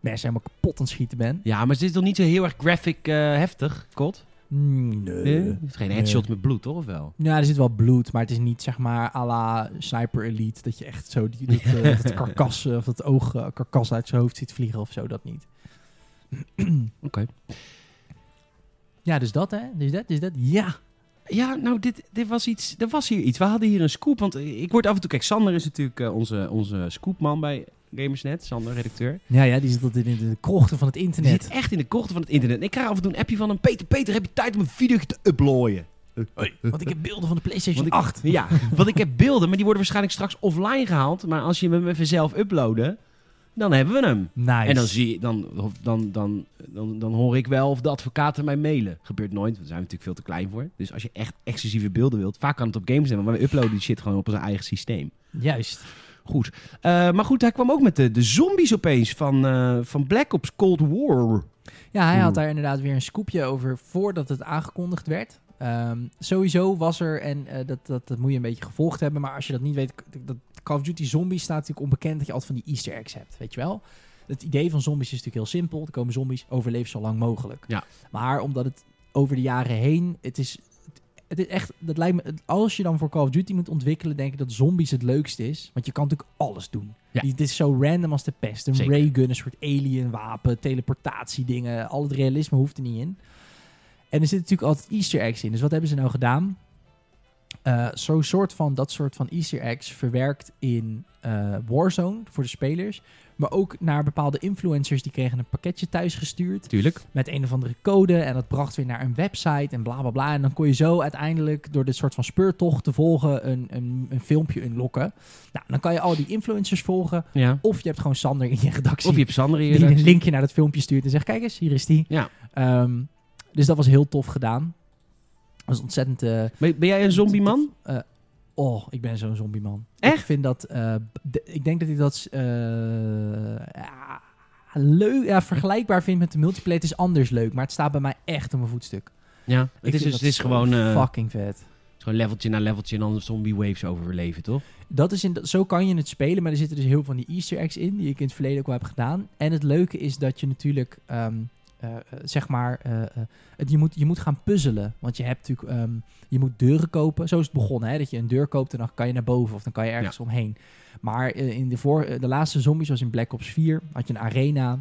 [SPEAKER 1] mensen helemaal kapot aan het schieten bent.
[SPEAKER 2] Ja, maar het is toch niet zo heel erg graphic eh, heftig, Kot?
[SPEAKER 1] Mm,
[SPEAKER 2] Eh, Nee.
[SPEAKER 1] Nee.
[SPEAKER 2] Het is geen headshot met bloed, toch? Of wel?
[SPEAKER 1] Ja, er zit wel bloed, maar het is niet zeg maar à la Sniper Elite. Dat je echt zo die, dat, eh, <laughs> dat karkas eh, of dat oog eh, karkas uit zijn hoofd ziet vliegen of zo. Dat <clears throat> niet.
[SPEAKER 2] Oké.
[SPEAKER 1] Ja, dus dat hè? Dus dat, dus dat. Ja.
[SPEAKER 2] Ja, nou, dit, dit was iets, er was hier iets. We hadden hier een scoop, want eh, ik word af en toe... Kijk, Sander is natuurlijk eh, onze, onze scoopman bij Gamersnet. Sander, redacteur.
[SPEAKER 1] Ja, ja, die zit altijd in de krochten van het
[SPEAKER 2] Die
[SPEAKER 1] internet.
[SPEAKER 2] zit echt in de korte van het internet. En ik krijg af en toe een appje van hem. Peter, Peter, heb je tijd om een video te uploaden?
[SPEAKER 1] Want ik heb beelden van de PlayStation
[SPEAKER 2] Want ik-
[SPEAKER 1] 8.
[SPEAKER 2] Ja, want ik heb beelden, maar die worden waarschijnlijk straks offline gehaald. Maar als je hem even zelf uploaden, dan hebben we hem.
[SPEAKER 1] Nice.
[SPEAKER 2] En dan zie je, dan, dan, dan, dan, dan hoor ik wel of de advocaten mij mailen. Gebeurt nooit, want daar zijn we natuurlijk veel te klein voor. Dus als je echt exclusieve beelden wilt, vaak kan het op games zijn, maar wij uploaden die shit gewoon op ons eigen systeem.
[SPEAKER 1] Juist.
[SPEAKER 2] Goed. Eh, maar goed, hij kwam ook met de, de zombies opeens van, eh, van Black Ops Cold War.
[SPEAKER 1] Ja, hij
[SPEAKER 2] Oeh.
[SPEAKER 1] had daar inderdaad weer een scoopje over voordat het aangekondigd werd. Ehm, sowieso was er, en eh, dat, dat, dat moet je een beetje gevolgd hebben, maar als je dat niet weet, k- dat Call of Duty Zombies staat natuurlijk onbekend dat je altijd van die easter eggs hebt, weet je wel? Het idee van zombies is natuurlijk heel simpel. Er komen zombies, overleef zo lang mogelijk.
[SPEAKER 2] Ja.
[SPEAKER 1] Maar omdat het over de jaren heen, het is, het is echt, dat lijkt me, als je dan voor Call of Duty moet ontwikkelen, denk ik dat zombies het leukste is. Want je kan natuurlijk alles doen.
[SPEAKER 2] Ja.
[SPEAKER 1] Die- Het is zo random als de pest. Een
[SPEAKER 2] Zeker.
[SPEAKER 1] raygun, een soort alien wapen, teleportatie dingen. Al het realisme hoeft er niet in. En er zitten natuurlijk altijd easter eggs in. Dus wat hebben ze nou gedaan? Eh, Zo'n soort van, dat soort van easter eggs verwerkt in eh, Warzone voor de spelers. Maar ook naar bepaalde influencers. Die kregen een pakketje thuis gestuurd
[SPEAKER 2] Tuurlijk.
[SPEAKER 1] met een of andere code. En dat bracht weer naar een website en bla bla bla. En dan kon je zo uiteindelijk door dit soort van speurtocht te volgen een, een, een filmpje unlocken. Nou, dan kan je al die influencers volgen.
[SPEAKER 2] Ja.
[SPEAKER 1] Of je hebt gewoon Sander in je redactie.
[SPEAKER 2] Of je hebt Sander hier. eh,
[SPEAKER 1] die een
[SPEAKER 2] redactie.
[SPEAKER 1] linkje naar dat filmpje stuurt en zegt: Kijk eens, hier is die.
[SPEAKER 2] Ja.
[SPEAKER 1] Ehm, dus dat was heel tof gedaan. Dat was ontzettend. eh,
[SPEAKER 2] Ben, ben jij een zombie-man?
[SPEAKER 1] oh, ik ben zo'n zombieman. Ik
[SPEAKER 2] Echt?
[SPEAKER 1] vind dat. eh, de- ik denk dat ik dat. eh, ja, leuk, ja, vergelijkbaar vind met de multiplayer. Het is anders leuk, maar het staat bij mij echt op mijn voetstuk.
[SPEAKER 2] Ja. Het
[SPEAKER 1] Ik
[SPEAKER 2] is,
[SPEAKER 1] vind
[SPEAKER 2] dus- het
[SPEAKER 1] dat
[SPEAKER 2] is
[SPEAKER 1] zo
[SPEAKER 2] gewoon, eh,
[SPEAKER 1] fucking vet.
[SPEAKER 2] het is gewoon leveltje na leveltje en dan zombie waves overleven, toch?
[SPEAKER 1] Dat is in, dat- zo kan je het spelen, maar er zitten dus heel veel van die easter eggs in... die ik in het verleden ook al heb gedaan. En het leuke is dat je natuurlijk, ehm, eh, eh, zeg maar... eh, eh, het, je, moet, je moet gaan puzzelen. Want je hebt natuurlijk... ehm, je moet deuren kopen. Zo is het begonnen, hè. Dat je een deur koopt en dan kan je naar boven... of dan kan je ergens omheen. Maar eh, in de, voor, eh, de laatste zombies was in Black Ops 4... had je een arena...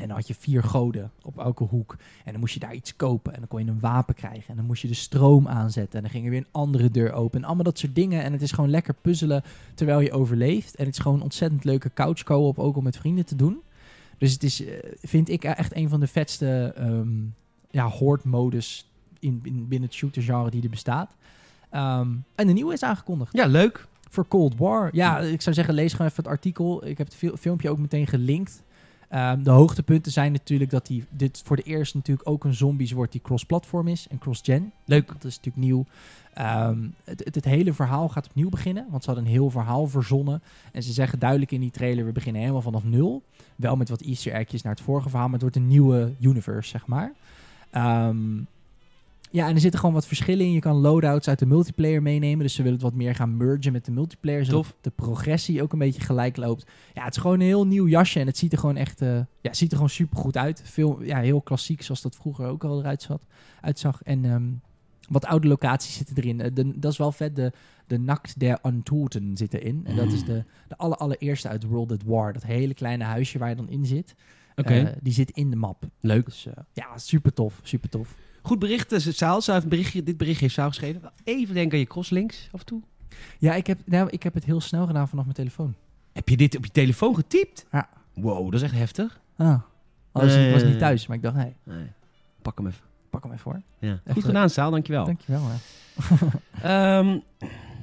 [SPEAKER 1] En dan had je vier goden op elke hoek. En dan moest je daar iets kopen. En dan kon je een wapen krijgen. En dan moest je de stroom aanzetten. En dan ging er weer een andere deur open. En allemaal dat soort dingen. En het is gewoon lekker puzzelen terwijl je overleeft. En het is gewoon een ontzettend leuke couch co-op ook om met vrienden te doen. Dus het is, eh, vind ik, eh, echt een van de vetste ehm ja, horde-modus in, in- binnen het shooter-genre die er bestaat. Ehm, en de nieuwe is aangekondigd.
[SPEAKER 2] Ja, leuk.
[SPEAKER 1] Voor Cold War. Ja, ik zou zeggen, lees gewoon even het artikel. Ik heb het fil- filmpje ook meteen gelinkt. Ehm, de hoogtepunten zijn natuurlijk dat die, dit voor de eerst natuurlijk ook een zombies wordt die cross-platform is en cross-gen.
[SPEAKER 2] Leuk.
[SPEAKER 1] Dat is natuurlijk nieuw. Ehm, het, het, het hele verhaal gaat opnieuw beginnen, want ze hadden een heel verhaal verzonnen. En ze zeggen duidelijk in die trailer, we beginnen helemaal vanaf nul. Wel met wat easter eggjes naar het vorige verhaal, maar het wordt een nieuwe universe, zeg maar. Ehm, ja, en er zitten gewoon wat verschillen in. Je kan loadouts uit de multiplayer meenemen, dus ze willen het wat meer gaan mergen met de multiplayer. Zodat
[SPEAKER 2] Tof.
[SPEAKER 1] de progressie ook een beetje gelijk loopt. Ja, het is gewoon een heel nieuw jasje en het ziet er gewoon echt eh, ja, het ziet er gewoon supergoed uit. Veel, ja, heel klassiek, zoals dat vroeger ook al eruit zat, uitzag. En ehm, wat oude locaties zitten erin. Eh, de- dat is wel vet. De, de Nacht der Untoten zit erin. En dat is de, de aller, allereerste uit World at War. Dat hele kleine huisje waar je dan in zit.
[SPEAKER 2] Oké.
[SPEAKER 1] Eh, die zit in de map.
[SPEAKER 2] Leuk.
[SPEAKER 1] Dus eh, ja, super tof. Super tof.
[SPEAKER 2] Goed bericht, eh, Saal. Saal heeft een berichtje, dit berichtje heeft Saal geschreven. Wel Even denken aan je crosslinks af en toe.
[SPEAKER 1] Ja, ik heb, nou, ik heb het heel snel gedaan vanaf mijn telefoon.
[SPEAKER 2] Heb je dit op je telefoon getypt?
[SPEAKER 1] Ja.
[SPEAKER 2] Wow, dat is echt heftig.
[SPEAKER 1] Ah. Alles
[SPEAKER 2] Nee.
[SPEAKER 1] was niet thuis, maar ik dacht, hé,
[SPEAKER 2] Nee. Pak hem even.
[SPEAKER 1] pak hem even voor.
[SPEAKER 2] Ja.
[SPEAKER 1] Echt
[SPEAKER 2] Goed
[SPEAKER 1] leuk.
[SPEAKER 2] gedaan, Saal. Dankjewel.
[SPEAKER 1] Dankjewel. Hè.
[SPEAKER 2] Ehm,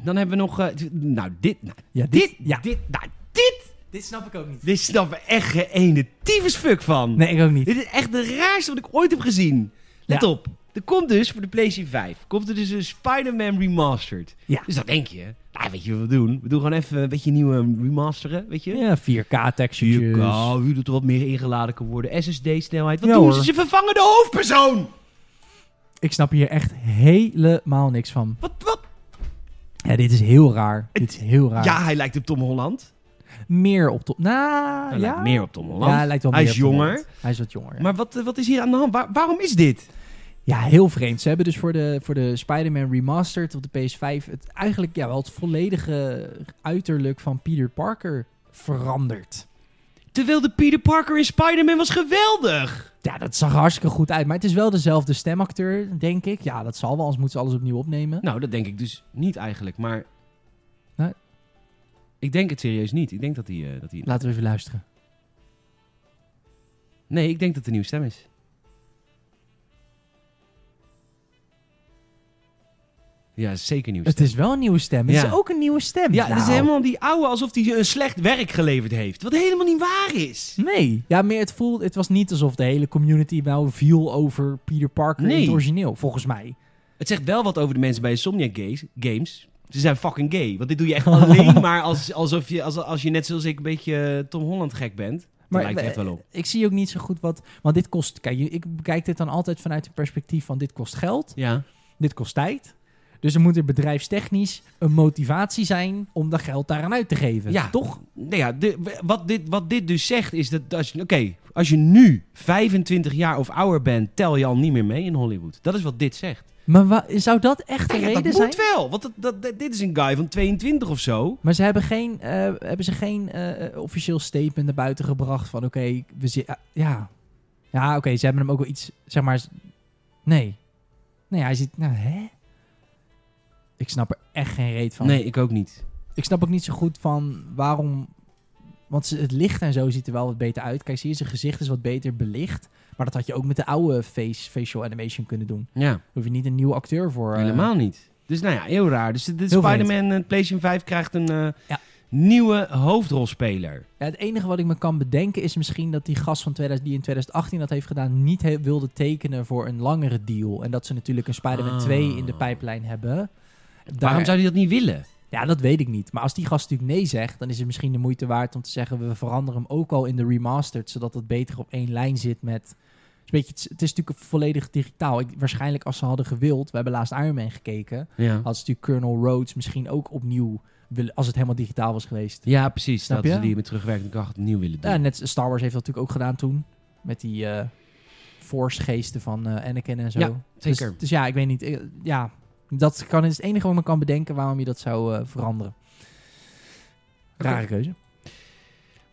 [SPEAKER 2] dan hebben we nog... eh, d- nou, dit... Nou,
[SPEAKER 1] Ja,
[SPEAKER 2] dit,
[SPEAKER 1] ja.
[SPEAKER 2] dit, nou, dit,
[SPEAKER 1] dit snap ik ook niet.
[SPEAKER 2] dit snappen we echt geen ene tyfus fuck van.
[SPEAKER 1] Nee, ik ook niet.
[SPEAKER 2] Dit is echt de raarste wat ik ooit heb gezien. Let
[SPEAKER 1] Ja.
[SPEAKER 2] op. Er komt dus voor de PlayStation 5 komt er dus een Spider-Man remastered.
[SPEAKER 1] Ja.
[SPEAKER 2] Dus dan denk je, nou weet je wat we doen? We doen gewoon even een beetje nieuwe remasteren, weet je?
[SPEAKER 1] Ja, 4K textures.
[SPEAKER 2] Zie je, oh, wie doet er wat meer ingeladen kan worden? SSD-snelheid. Wat
[SPEAKER 1] Ja,
[SPEAKER 2] doen ze?
[SPEAKER 1] hoor.
[SPEAKER 2] Ze vervangen de hoofdpersoon!
[SPEAKER 1] Ik snap hier echt helemaal niks van.
[SPEAKER 2] Wat, wat?
[SPEAKER 1] Ja, dit is heel raar. Dit is heel raar.
[SPEAKER 2] Ja, hij lijkt op Tom Holland.
[SPEAKER 1] Meer op Tom... Nou,
[SPEAKER 2] Hij
[SPEAKER 1] ja.
[SPEAKER 2] lijkt meer op Tom Holland.
[SPEAKER 1] Ja, hij lijkt wel
[SPEAKER 2] Hij
[SPEAKER 1] meer
[SPEAKER 2] is
[SPEAKER 1] op Tom
[SPEAKER 2] jonger.
[SPEAKER 1] Holland. Hij is wat jonger. ja.
[SPEAKER 2] Maar wat, eh, wat is hier aan de hand? Waar- waarom is dit?
[SPEAKER 1] Ja, heel vreemd. Ze hebben dus voor de, voor de Spider-Man Remastered op de PS5 het eigenlijk ja, wel het volledige uiterlijk van Peter Parker veranderd.
[SPEAKER 2] Terwijl de Peter Parker in Spider-Man was geweldig.
[SPEAKER 1] Ja, dat zag er hartstikke goed uit. Maar het is wel dezelfde stemacteur, denk ik. Ja, dat zal wel, anders moeten ze alles opnieuw opnemen. Nou,
[SPEAKER 2] Nou, dat denk ik dus niet eigenlijk, maar...
[SPEAKER 1] Nee.
[SPEAKER 2] Ik denk het serieus niet. Ik denk dat hij... eh, dat hij...
[SPEAKER 1] Laten we even luisteren.
[SPEAKER 2] Nee, ik denk dat het een nieuwe stem is. Ja, het is zeker een nieuwe
[SPEAKER 1] Het
[SPEAKER 2] stem.
[SPEAKER 1] is wel een nieuwe stem. Het
[SPEAKER 2] Ja.
[SPEAKER 1] is ook een nieuwe stem.
[SPEAKER 2] Ja, het is
[SPEAKER 1] Nou,
[SPEAKER 2] helemaal die oude alsof hij een slecht werk geleverd heeft. Wat helemaal niet waar is.
[SPEAKER 1] Nee. Ja, meer het voelde... Het was niet alsof de hele community nou viel over Peter Parker in
[SPEAKER 2] Nee.
[SPEAKER 1] het origineel, volgens mij.
[SPEAKER 2] Het zegt wel wat over de mensen bij Insomniac Games. games. Ze zijn fucking gay. Want dit doe
[SPEAKER 1] <laughs>
[SPEAKER 2] je echt alleen maar als, alsof je, als, als je net zoals ik een beetje eh, Tom Holland gek bent. Dat
[SPEAKER 1] Maar
[SPEAKER 2] lijkt het echt wel op.
[SPEAKER 1] Ik zie ook niet zo goed wat... Want dit kost... Kijk, ik bekijk dit dan altijd vanuit het perspectief van dit kost geld.
[SPEAKER 2] Ja.
[SPEAKER 1] Dit kost tijd. Dus er moet er bedrijfstechnisch een motivatie zijn om dat geld daaraan uit te geven.
[SPEAKER 2] Ja.
[SPEAKER 1] Toch?
[SPEAKER 2] Nou ja, de- wat, dit, wat dit dus zegt is dat als je, oké, als je nu 25 jaar of ouder bent, tel je al niet meer mee in Hollywood. Dat is wat dit zegt.
[SPEAKER 1] Maar wa- zou dat echt de
[SPEAKER 2] Ja, dat
[SPEAKER 1] reden
[SPEAKER 2] moet
[SPEAKER 1] zijn?
[SPEAKER 2] wel, want dat, dat, dat- dit is een guy van 22 of zo.
[SPEAKER 1] Maar ze hebben geen, eh, hebben ze geen eh, officieel statement naar buiten gebracht van oké, we zi- ah, ja. Ja, oké, ze hebben hem ook wel iets, zeg maar, z- nee. Nee, hij ziet, nou hè? Ik snap er echt geen reet van.
[SPEAKER 2] Nee, ik ook niet.
[SPEAKER 1] Ik snap ook niet zo goed van waarom, want ze- het licht en zo ziet er wel wat beter uit. Kijk, zie je, zijn gezicht is wat beter belicht. Maar dat had je ook met de oude face, facial animation kunnen doen.
[SPEAKER 2] Ja,
[SPEAKER 1] Daar hoef je niet een nieuwe acteur voor. eh,
[SPEAKER 2] helemaal niet. Dus nou ja, heel raar. Dus de, de
[SPEAKER 1] Heel vreemd.
[SPEAKER 2] Spider-Man eh, PlayStation 5 krijgt een eh,
[SPEAKER 1] Ja.
[SPEAKER 2] nieuwe hoofdrolspeler.
[SPEAKER 1] Ja, het enige wat ik me kan bedenken is misschien dat die gast van 2000, die in 2018 dat heeft gedaan, niet he- wilde tekenen voor een langere deal. En dat ze natuurlijk een Spider-Man
[SPEAKER 2] Ah.
[SPEAKER 1] 2 in de pijplijn hebben.
[SPEAKER 2] Waarom
[SPEAKER 1] Daar-
[SPEAKER 2] zou hij dat niet willen?
[SPEAKER 1] Ja, dat weet ik niet. Maar als die gast natuurlijk nee zegt, dan is het misschien de moeite waard om te zeggen: we veranderen hem ook al in de remastered, zodat het beter op één lijn zit met. het is een beetje, het is natuurlijk volledig digitaal. Ik, waarschijnlijk als ze hadden gewild, we hebben laatst Iron Man gekeken,
[SPEAKER 2] Ja,
[SPEAKER 1] had ze natuurlijk Colonel Rhodes misschien ook opnieuw willen, als het helemaal digitaal was geweest.
[SPEAKER 2] ja precies.
[SPEAKER 1] Snap je?
[SPEAKER 2] dat ze die met terugwerkende kracht opnieuw willen doen.
[SPEAKER 1] Ja, net Star Wars heeft dat natuurlijk ook gedaan toen. Met die eh, Force-geesten van eh, Anakin en zo.
[SPEAKER 2] Ja,
[SPEAKER 1] Dus-
[SPEAKER 2] zeker.
[SPEAKER 1] Dus, ja, ik weet niet. eh, ja, dat kan, is het enige wat ik me kan bedenken waarom je dat zou eh, veranderen. Rare
[SPEAKER 2] Oké.
[SPEAKER 1] keuze.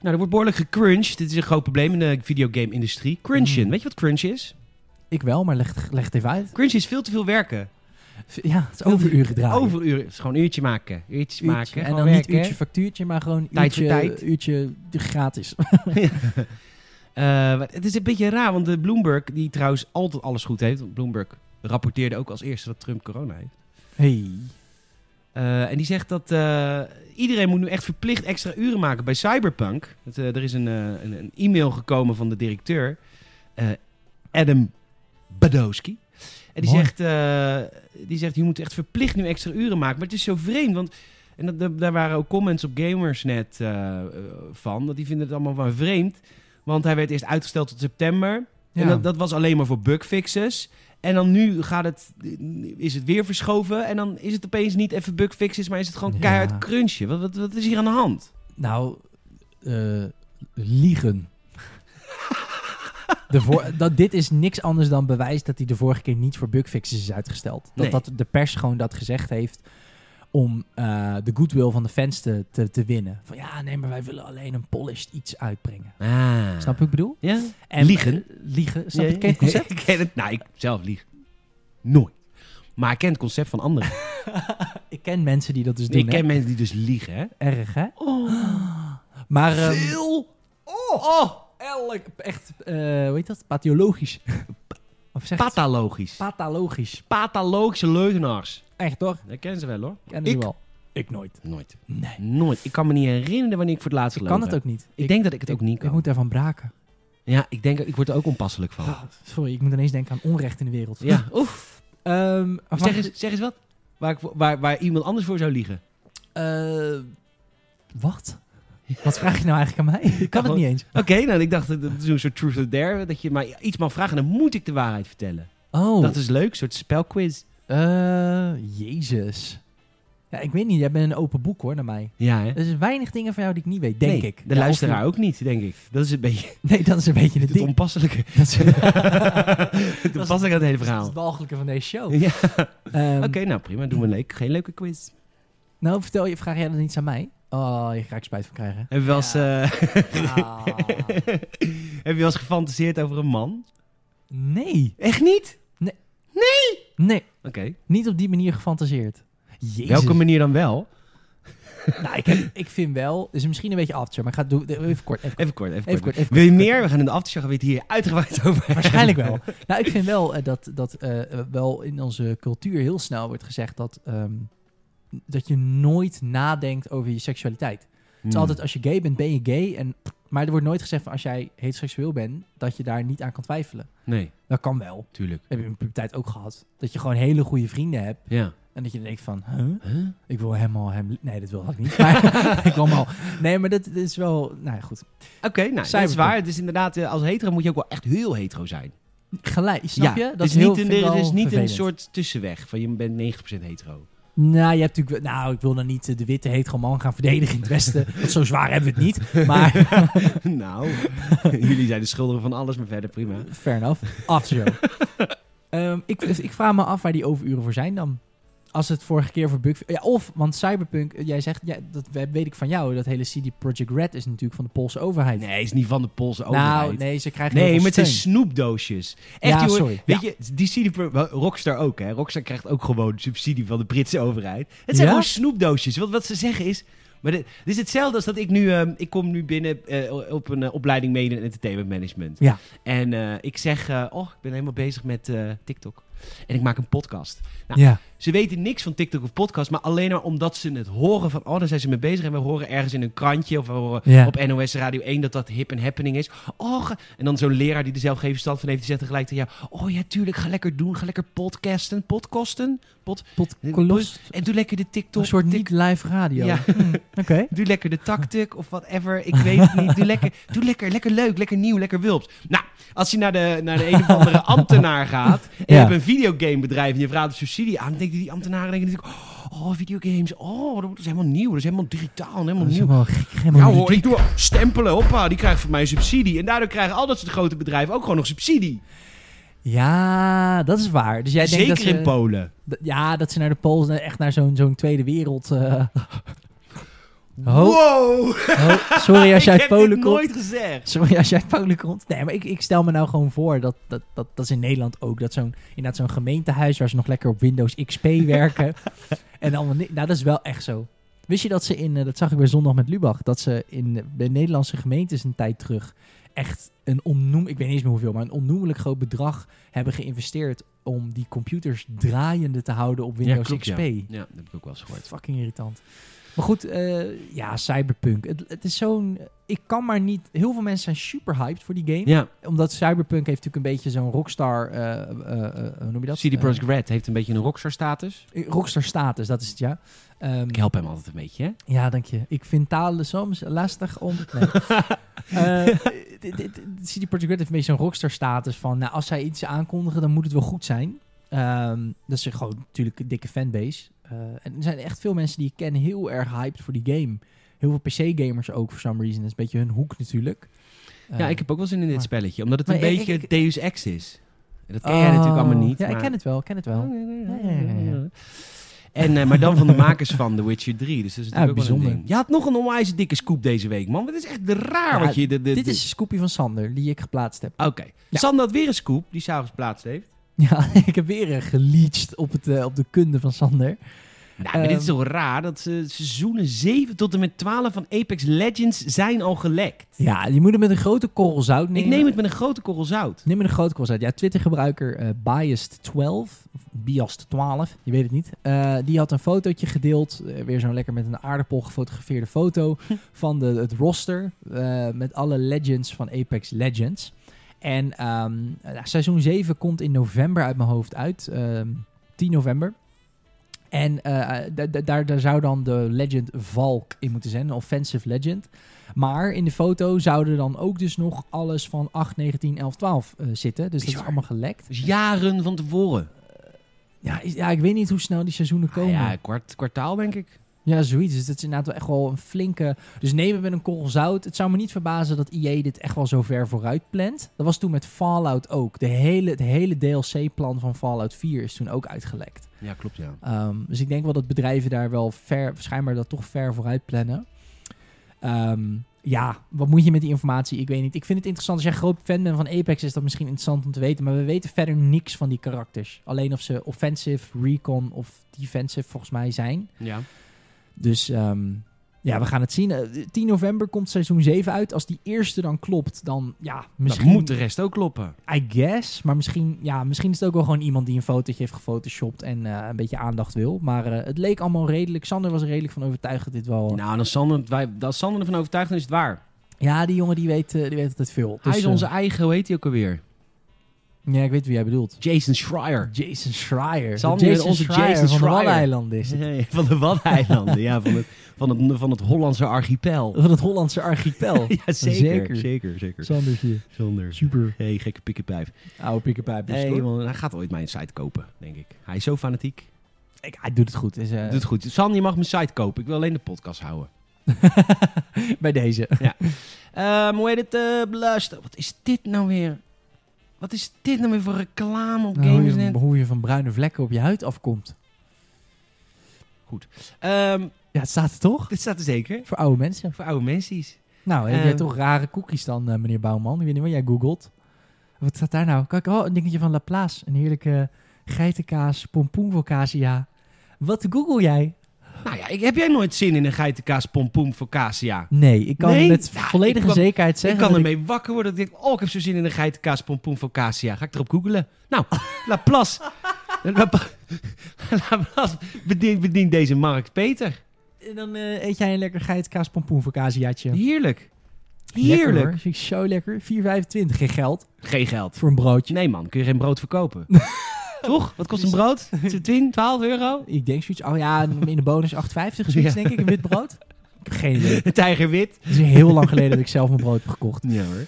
[SPEAKER 2] Nou, er wordt behoorlijk gecrunched. Dit is een groot probleem in de videogame-industrie. Crunchen.
[SPEAKER 1] Mm.
[SPEAKER 2] Weet je wat crunch is?
[SPEAKER 1] Ik wel, maar leg, leg het even uit.
[SPEAKER 2] Crunch is veel te veel werken.
[SPEAKER 1] Ja, het is overuren draaien.
[SPEAKER 2] Overuren. Het is gewoon een uurtje maken. Uurtjes
[SPEAKER 1] Uurtje.
[SPEAKER 2] maken.
[SPEAKER 1] En
[SPEAKER 2] gewoon
[SPEAKER 1] dan niet
[SPEAKER 2] werken.
[SPEAKER 1] uurtje factuurtje, maar gewoon uurtje,
[SPEAKER 2] Tijd voor tijd.
[SPEAKER 1] uurtje gratis.
[SPEAKER 2] Eh, maar het is een beetje raar, want de Bloomberg, die trouwens altijd alles goed heeft. Want Bloomberg rapporteerde ook als eerste dat Trump corona heeft.
[SPEAKER 1] hey.
[SPEAKER 2] Eh, en die zegt dat eh, iedereen moet nu echt verplicht extra uren maken bij Cyberpunk. Het, eh, er is een, eh, een, een e-mail gekomen van de directeur, eh, Adam Badowski. En die
[SPEAKER 1] Mooi.
[SPEAKER 2] zegt, eh, die zegt, je moet echt verplicht nu extra uren maken. Maar het is zo vreemd, want en dat, dat- daar waren ook comments op Gamersnet eh, eh, van. Dat die vinden het allemaal wel vreemd. Want hij werd eerst uitgesteld tot september.
[SPEAKER 1] Ja.
[SPEAKER 2] En dat, dat was alleen maar voor bugfixes. En dan nu gaat het, is het weer verschoven. En dan is het opeens niet even bugfixes, maar is het gewoon
[SPEAKER 1] Ja.
[SPEAKER 2] keihard crunchen. Wat, wat, wat is hier aan de hand?
[SPEAKER 1] Nou, eh, liegen. De
[SPEAKER 2] <laughs>
[SPEAKER 1] voor- dat, dit is niks anders dan bewijs dat hij de vorige keer niet voor bugfixes is uitgesteld. Dat,
[SPEAKER 2] Nee.
[SPEAKER 1] dat de pers gewoon dat gezegd heeft om eh, de goodwill van de fans te, te, te winnen. Van ja, nee, maar wij willen alleen een polished iets uitbrengen.
[SPEAKER 2] Ah.
[SPEAKER 1] Snap je wat ik bedoel?
[SPEAKER 2] Ja?
[SPEAKER 1] En- eh,
[SPEAKER 2] Liegen?
[SPEAKER 1] liegen. Snap je
[SPEAKER 2] Ja,
[SPEAKER 1] het, ken je het concept?
[SPEAKER 2] <laughs> ik ken het. Nou, ik zelf lieg. Nooit. Maar ik ken het concept van anderen.
[SPEAKER 1] ik ken mensen die dat dus doen.
[SPEAKER 2] ik ken
[SPEAKER 1] hè?
[SPEAKER 2] mensen die dus liegen, hè?
[SPEAKER 1] Erg, hè?
[SPEAKER 2] Oh,
[SPEAKER 1] Maar ehm,
[SPEAKER 2] veel. Oh,
[SPEAKER 1] elk, echt, eh, hoe heet dat? Pathologisch. <laughs> of zeg het?
[SPEAKER 2] patalogisch.
[SPEAKER 1] Pathologisch.
[SPEAKER 2] Patalogische leugenaars.
[SPEAKER 1] Echt, toch?
[SPEAKER 2] Dat kennen ze wel, hoor.
[SPEAKER 1] Kennen
[SPEAKER 2] Ik-
[SPEAKER 1] die wel. Ik nooit.
[SPEAKER 2] Nooit.
[SPEAKER 1] Nee.
[SPEAKER 2] Nooit. Ik kan me niet herinneren wanneer ik voor het laatst
[SPEAKER 1] Ik
[SPEAKER 2] gelogen
[SPEAKER 1] kan het
[SPEAKER 2] heb.
[SPEAKER 1] ook niet.
[SPEAKER 2] Ik, denk dat ik het ook niet kan.
[SPEAKER 1] Ik moet daarvan braken.
[SPEAKER 2] Ja, ik denk, ik word er ook onpasselijk van.
[SPEAKER 1] <gasps> Ah, sorry, ik moet ineens denken aan onrecht in de wereld.
[SPEAKER 2] Oh. Ja, oef.
[SPEAKER 1] Ehm, maar
[SPEAKER 2] Zeg eens, zeg eens wat. Waar, ik voor- waar, waar iemand anders voor zou liegen.
[SPEAKER 1] eh, wat? Wat vraag je nou eigenlijk aan mij? Ik kan het
[SPEAKER 2] gewoon-
[SPEAKER 1] niet eens.
[SPEAKER 2] Oké, nou, ik dacht, dat is een soort truth or dare. Dat je maar iets mag vragen en dan moet ik de waarheid vertellen.
[SPEAKER 1] Oh,
[SPEAKER 2] Dat is leuk, een soort spelquiz.
[SPEAKER 1] eh, jezus. Ja, ik weet niet, jij bent een open boek hoor, naar mij.
[SPEAKER 2] Ja, hè?
[SPEAKER 1] Er zijn weinig dingen van jou die ik niet weet, denk
[SPEAKER 2] Nee,
[SPEAKER 1] ik. Ja,
[SPEAKER 2] De
[SPEAKER 1] of
[SPEAKER 2] luisteraar ook niet, denk ik. Dat is een beetje <laughs>
[SPEAKER 1] je- Nee, dat is een beetje het
[SPEAKER 2] het
[SPEAKER 1] ding.
[SPEAKER 2] onpasselijke.
[SPEAKER 1] Dat is,
[SPEAKER 2] Het onpasselijke aan het hele
[SPEAKER 1] dat is
[SPEAKER 2] verhaal.
[SPEAKER 1] het walgelijke van deze
[SPEAKER 2] <laughs>
[SPEAKER 1] show.
[SPEAKER 2] Ja.
[SPEAKER 1] Ehm,
[SPEAKER 2] Oké, nou prima. Doen we leuk. Geen leuke quiz.
[SPEAKER 1] Nou, vertel je, vraag jij dat niet aan mij? Oh, je ga ik spijt van krijgen.
[SPEAKER 2] Heb je wel eens,
[SPEAKER 1] Ja.
[SPEAKER 2] eh,
[SPEAKER 1] Ah,
[SPEAKER 2] Oh. <laughs> heb je wel eens gefantaseerd over een man?
[SPEAKER 1] nee.
[SPEAKER 2] Echt niet?
[SPEAKER 1] Nee,
[SPEAKER 2] Oké.
[SPEAKER 1] niet op die manier gefantaseerd. Jezus.
[SPEAKER 2] Welke manier dan wel?
[SPEAKER 1] Nou, ik, heb- ik vind wel... is misschien een beetje after, maar ik ga het doen. Even kort, even kort.
[SPEAKER 2] Even kort, even,
[SPEAKER 1] Even
[SPEAKER 2] kort.
[SPEAKER 1] kort, even
[SPEAKER 2] Wil je
[SPEAKER 1] kort.
[SPEAKER 2] meer? We gaan in de aftershow gaan we het hier uitgebreid <laughs> over hebben.
[SPEAKER 1] Waarschijnlijk wel. Nou, ik vind wel eh, dat, dat eh, eh, wel in onze cultuur heel snel wordt gezegd dat, ehm, dat je nooit nadenkt over je seksualiteit. Het is
[SPEAKER 2] Hmm.
[SPEAKER 1] altijd als je gay bent, ben je gay. En, maar er wordt nooit gezegd van als jij heteroseksueel bent, dat je daar niet aan kan twijfelen.
[SPEAKER 2] Nee,
[SPEAKER 1] Dat kan wel.
[SPEAKER 2] tuurlijk.
[SPEAKER 1] heb je in mijn puberteit ook gehad. Dat je gewoon hele goede vrienden hebt.
[SPEAKER 2] Ja.
[SPEAKER 1] En dat je denkt van, huh?
[SPEAKER 2] Huh?
[SPEAKER 1] ik wil helemaal hem... li- Nee, dat wil ik niet.
[SPEAKER 2] <laughs>
[SPEAKER 1] Maar <laughs> ik wil hem al. Nee, maar dat, dat is wel... Nou ja, goed.
[SPEAKER 2] Oké, nou, dat is
[SPEAKER 1] Cyberpunk.
[SPEAKER 2] waar. Het is inderdaad, eh, als hetero moet je ook wel echt heel hetero zijn.
[SPEAKER 1] Gelijk, snap je?
[SPEAKER 2] Dat is
[SPEAKER 1] heel-
[SPEAKER 2] niet, een,
[SPEAKER 1] vind ik
[SPEAKER 2] er is
[SPEAKER 1] wel
[SPEAKER 2] niet een
[SPEAKER 1] vervelend.
[SPEAKER 2] soort tussenweg van je bent 90%
[SPEAKER 1] <laughs>
[SPEAKER 2] hetero.
[SPEAKER 1] Nou, je hebt natuurlijk... wel- Nou, ik wil dan niet eh, de witte hetero man gaan verdedigen in het Westen.
[SPEAKER 2] <laughs>
[SPEAKER 1] Want zo zwaar hebben we het niet. Maar,
[SPEAKER 2] nou, <laughs> jullie zijn de schuldigen van alles, maar verder prima.
[SPEAKER 1] fair enough.
[SPEAKER 2] <laughs>
[SPEAKER 1] Aftershow. Ehm ik, ik vraag me af waar die overuren voor zijn dan. Als het vorige keer voor Bug... Ja, of, want Cyberpunk, eh, jij zegt... Ja, dat weet ik van jou. Dat hele CD Projekt Red is natuurlijk van de Poolse overheid.
[SPEAKER 2] Nee, is niet van de Poolse
[SPEAKER 1] Nou,
[SPEAKER 2] overheid.
[SPEAKER 1] nee, ze krijgen
[SPEAKER 2] Nee,
[SPEAKER 1] heel veel
[SPEAKER 2] met zijn
[SPEAKER 1] steun.
[SPEAKER 2] snoepdoosjes. Echt,
[SPEAKER 1] Ja,
[SPEAKER 2] jongen,
[SPEAKER 1] sorry.
[SPEAKER 2] Weet
[SPEAKER 1] Ja.
[SPEAKER 2] je, die CD Pro- wel, Rockstar ook, hè? Rockstar krijgt ook gewoon subsidie van de Britse overheid. Het zijn
[SPEAKER 1] Ja?
[SPEAKER 2] gewoon snoepdoosjes. Want wat ze zeggen is. Maar dit, dit is hetzelfde als dat ik nu. ehm, ik kom nu binnen eh, op een eh, opleiding Media en Entertainment Management.
[SPEAKER 1] Ja.
[SPEAKER 2] En eh, ik zeg. eh, oh, ik ben helemaal bezig met eh, TikTok. En ik maak een podcast. Nou,
[SPEAKER 1] ja.
[SPEAKER 2] Ze weten niks van TikTok of podcast, maar alleen maar omdat ze het horen van, oh, daar zijn ze mee bezig. En we horen ergens in een krantje of we horen
[SPEAKER 1] Ja.
[SPEAKER 2] op NOS Radio 1 dat dat hip en happening is. Oh, ga- en dan zo'n leraar die er zelf geen verstand van heeft, die zegt tegelijk tegen jou, oh ja, tuurlijk, ga lekker doen, ga lekker podcasten, podcasten. Pod
[SPEAKER 1] Potkolos.
[SPEAKER 2] en doe lekker de TikTok.
[SPEAKER 1] Een soort
[SPEAKER 2] tik-
[SPEAKER 1] niet live radio. <laughs>
[SPEAKER 2] Ja.
[SPEAKER 1] Hmm, Oké.
[SPEAKER 2] Doe lekker de tactic of whatever. Ik weet het niet. Doe lekker, doe lekker, lekker leuk, lekker nieuw, lekker wulps. Nou, als je naar de, naar de een of
[SPEAKER 1] <laughs>
[SPEAKER 2] andere ambtenaar gaat. en je
[SPEAKER 1] Ja.
[SPEAKER 2] hebt een videogamebedrijf en je vraagt om subsidie aan. dan denken die ambtenaren denken natuurlijk. Oh, videogames. Oh, dat is helemaal nieuw. Dat is helemaal digitaal en helemaal
[SPEAKER 1] Dat is
[SPEAKER 2] nieuw.
[SPEAKER 1] helemaal gek.
[SPEAKER 2] Ja
[SPEAKER 1] Helemaal
[SPEAKER 2] hoor,
[SPEAKER 1] ludiek.
[SPEAKER 2] ik doe stempelen. Hoppa, die krijgt van mij een subsidie. En daardoor krijgen al dat soort grote bedrijven ook gewoon nog subsidie.
[SPEAKER 1] Ja, dat is waar. Dus jij
[SPEAKER 2] Zeker
[SPEAKER 1] denkt dat ze,
[SPEAKER 2] in Polen.
[SPEAKER 1] d- Ja, dat ze naar de Pools, eh, echt naar zo'n zo'n tweede wereld...
[SPEAKER 2] <laughs>
[SPEAKER 1] eh, Ho-
[SPEAKER 2] Wow!
[SPEAKER 1] oh, sorry als jij
[SPEAKER 2] <laughs>
[SPEAKER 1] uit
[SPEAKER 2] ik heb
[SPEAKER 1] Polen
[SPEAKER 2] dit
[SPEAKER 1] komt.
[SPEAKER 2] nooit
[SPEAKER 1] <laughs>
[SPEAKER 2] gezegd.
[SPEAKER 1] Sorry als jij uit Polen komt. Nee, maar ik, ik stel me nou gewoon voor dat dat, dat, dat is in Nederland ook. Dat zo'n inderdaad zo'n gemeentehuis waar ze nog lekker op Windows
[SPEAKER 2] <laughs>
[SPEAKER 1] XP werken. en allemaal ni- Nou, dat is wel echt zo. Wist je dat ze in, eh, dat zag ik bij Zondag met Lubach, dat ze in eh, bij Nederlandse gemeentes een tijd terug echt een onnoem, ik weet niet eens meer hoeveel, maar een onnoemelijk groot bedrag hebben geïnvesteerd om die computers draaiende te houden op Windows XP.
[SPEAKER 2] Ja, dat heb ik ook wel eens gehoord.
[SPEAKER 1] Fucking irritant. Maar goed, eh, ja, Cyberpunk. Het, het is zo'n. Ik kan maar niet. Heel veel mensen zijn super hyped voor die game.
[SPEAKER 2] Ja,
[SPEAKER 1] Omdat Cyberpunk heeft natuurlijk een beetje zo'n rockstar. eh, eh, eh, hoe noem je dat?
[SPEAKER 2] CD Projekt Red heeft een beetje een rockstar-status.
[SPEAKER 1] Eh, rockstar status, dat is het ja. Ehm,
[SPEAKER 2] Ik help hem altijd een beetje, hè?
[SPEAKER 1] ja, dank je. Ik vind talen soms lastig
[SPEAKER 2] <laughs>
[SPEAKER 1] om. Nee. Eh, dit- dit- dit- CD Projekt Red heeft een beetje zo'n rockstar status van. Nou, als zij iets aankondigen, dan moet het wel goed zijn. Ehm, dat is gewoon natuurlijk een dikke fanbase. Eh, en er zijn echt veel mensen die ik ken heel erg hyped voor die game. Heel veel PC-gamers ook, for some reason. Dat is een beetje hun hoek natuurlijk. Eh,
[SPEAKER 2] ja, ik heb ook wel zin in dit
[SPEAKER 1] maar-
[SPEAKER 2] spelletje, omdat het een
[SPEAKER 1] maar ik-
[SPEAKER 2] beetje
[SPEAKER 1] ik- ik-
[SPEAKER 2] Deus Ex is. En Dat ken jij natuurlijk allemaal niet.
[SPEAKER 1] Oh, Ja,
[SPEAKER 2] maar... Oh.
[SPEAKER 1] ik ken het wel, ik ken het wel. Ja, ja, ja, ja.
[SPEAKER 2] En, eh, maar dan van de makers van The Witcher 3. Dus dat is
[SPEAKER 1] Ja,
[SPEAKER 2] natuurlijk ook wel een
[SPEAKER 1] bijzonder.
[SPEAKER 2] ding. Je had nog een onwijs dikke scoop deze week, man. Het is echt raar
[SPEAKER 1] Ja,
[SPEAKER 2] wat je... De, de-
[SPEAKER 1] Dit
[SPEAKER 2] de-
[SPEAKER 1] is een scoopje van Sander, die ik geplaatst heb. <laughs>
[SPEAKER 2] Oké.
[SPEAKER 1] Ja.
[SPEAKER 2] Sander had weer een scoop, die s'avonds plaatst heeft.
[SPEAKER 1] Ja, ik heb weer eh, geleached op, het, eh, op de kunde van Sander.
[SPEAKER 2] Nou, maar dit is toch raar dat ze seizoenen 7 tot en met 12 van Apex Legends zijn al gelekt.
[SPEAKER 1] Ja, je moet hem met een grote korrel zout nemen.
[SPEAKER 2] Ik neem het met een grote korrel zout.
[SPEAKER 1] Neem maar een grote kost uit. Ja, Twitter-gebruiker eh, Biased12, of Biased12, je weet het niet. eh, die had een fotootje gedeeld, eh, weer zo'n lekker met een aardappel gefotografeerde foto... van de, het roster eh, met alle legends van Apex Legends. En ehm, nou, seizoen 7 komt in november uit mijn hoofd uit, ehm, 10 november. En eh, da- da- daar, daar zou dan de legend Valk in moeten zijn, een offensive legend. Maar in de foto zouden dan ook dus nog alles van 8, 19, 11, 12 eh, zitten. Dus dat
[SPEAKER 2] Bizar.
[SPEAKER 1] is allemaal gelekt.
[SPEAKER 2] Dus jaren van tevoren.
[SPEAKER 1] Ja, is- ja, ik weet niet hoe snel die seizoenen
[SPEAKER 2] Ah,
[SPEAKER 1] komen.
[SPEAKER 2] ja, kwart, kwartaal denk ik.
[SPEAKER 1] Ja, zoiets. Dus dat is inderdaad wel echt wel een flinke... Dus nemen met een korrel zout. Het zou me niet verbazen dat EA dit echt wel zo ver vooruit plant. Dat was toen met Fallout ook. De hele, het hele DLC-plan van Fallout 4 is toen ook uitgelekt.
[SPEAKER 2] Ja, klopt ja.
[SPEAKER 1] Ehm, dus ik denk wel dat bedrijven daar wel ver, schijnbaar dat toch ver vooruit plannen. Ehm, ja, wat moet je met die informatie? Ik weet niet. Ik vind het interessant. Als jij groot fan bent van Apex, is dat misschien interessant om te weten. Maar we weten verder niks van die karakters. Alleen of ze offensive, recon of defensive volgens mij zijn.
[SPEAKER 2] ja.
[SPEAKER 1] Dus ehm, ja, we gaan het zien. Eh, 10 november komt seizoen 7 uit. Als die eerste dan klopt, dan ja, misschien...
[SPEAKER 2] Dat moet de rest ook kloppen.
[SPEAKER 1] I guess. Maar misschien, ja, misschien is het ook wel gewoon iemand die een fotootje heeft gefotoshopt en eh, een beetje aandacht wil. Maar eh, het leek allemaal redelijk. Sander was er redelijk van overtuigd dat dit wel...
[SPEAKER 2] Nou, en als Sander, wij, als Sander ervan overtuigd is, is het waar.
[SPEAKER 1] Ja, die jongen die weet, eh, die weet altijd veel. Dus,
[SPEAKER 2] hij is onze
[SPEAKER 1] eh,
[SPEAKER 2] eigen, hoe heet hij ook alweer?
[SPEAKER 1] ja, ik weet wie jij bedoelt.
[SPEAKER 2] Jason Schreier.
[SPEAKER 1] Jason Schreier.
[SPEAKER 2] Sander,
[SPEAKER 1] Jason
[SPEAKER 2] onze
[SPEAKER 1] Schreier
[SPEAKER 2] Jason
[SPEAKER 1] van de
[SPEAKER 2] Schreier.
[SPEAKER 1] Waddeneilanden is het.
[SPEAKER 2] Van de Waddeneilanden, ja. Van het, van, het, van het Hollandse archipel.
[SPEAKER 1] Van het Hollandse <laughs> archipel.
[SPEAKER 2] Ja,
[SPEAKER 1] Zeker.
[SPEAKER 2] zeker. Zeker, zeker.
[SPEAKER 1] Sander hier.
[SPEAKER 2] Zonder.
[SPEAKER 1] Super.
[SPEAKER 2] Hé, hey, gekke pikkenpijp.
[SPEAKER 1] Oude piekerpijp.
[SPEAKER 2] Hey, man, hij gaat ooit mijn site kopen, denk ik. Hij is zo fanatiek.
[SPEAKER 1] Eh. ik, hij doet het goed. Is, eh,
[SPEAKER 2] Doet goed. San, je mag mijn site kopen. Ik wil alleen de podcast houden.
[SPEAKER 1] <laughs> Bij deze.
[SPEAKER 2] Ehm hoe heet het? eh, beluister. Wat is dit nou weer? Wat is dit nou weer voor reclame op
[SPEAKER 1] Nou, hoe,
[SPEAKER 2] Gamesnet?
[SPEAKER 1] je, hoe je van bruine vlekken op je huid afkomt.
[SPEAKER 2] Ehm,
[SPEAKER 1] Ja, het staat er toch?
[SPEAKER 2] dit staat er zeker.
[SPEAKER 1] Voor oude mensen.
[SPEAKER 2] Voor oude mensen.
[SPEAKER 1] Nou, heb jij
[SPEAKER 2] Eh,
[SPEAKER 1] toch rare cookies dan, eh, meneer Bouwman? Ik weet niet wat jij googelt. Wat staat daar nou? Kijk, oh, een dingetje van Laplace. Een heerlijke geitenkaas, pompoen Vocasia. Wat google jij?
[SPEAKER 2] Nou ja, ik, heb jij nooit zin in een geitenkaas pompoen voor Casia?
[SPEAKER 1] Nee, ik kan
[SPEAKER 2] Nee?
[SPEAKER 1] met
[SPEAKER 2] Ja,
[SPEAKER 1] volledige
[SPEAKER 2] ik kwam-
[SPEAKER 1] zekerheid
[SPEAKER 2] Ik
[SPEAKER 1] zeggen...
[SPEAKER 2] kan
[SPEAKER 1] dat
[SPEAKER 2] ermee wakker worden. Dat ik denk, oh, ik heb zo zin in een geitenkaas pompoen voor Casia. Ga ik erop googelen?
[SPEAKER 1] <laughs>
[SPEAKER 2] Nou, Laplace. Lap- <laughs> Laplace bedient, bedient deze markt beter.
[SPEAKER 1] En dan eh, eet jij een lekker geitenkaas, pompoen Vocasiaatje.
[SPEAKER 2] Heerlijk.
[SPEAKER 1] Lekker, hoor.
[SPEAKER 2] Heerlijk.
[SPEAKER 1] Vind ik zo lekker. 4,25. Geen geld
[SPEAKER 2] Geen geld.
[SPEAKER 1] voor een broodje.
[SPEAKER 2] Nee man, kun je geen brood <laughs> verkopen. Toch? Wat kost een <laughs> brood? 10, 12 euro?
[SPEAKER 1] Ik denk zoiets... Oh ja, in de bonus 8,50 zoiets,
[SPEAKER 2] Ja.
[SPEAKER 1] denk ik. Een wit brood. Ik heb geen idee.
[SPEAKER 2] <laughs> Een tijgerwit?
[SPEAKER 1] Het is heel lang geleden dat ik zelf mijn brood heb gekocht.
[SPEAKER 2] Ja hoor. Hé,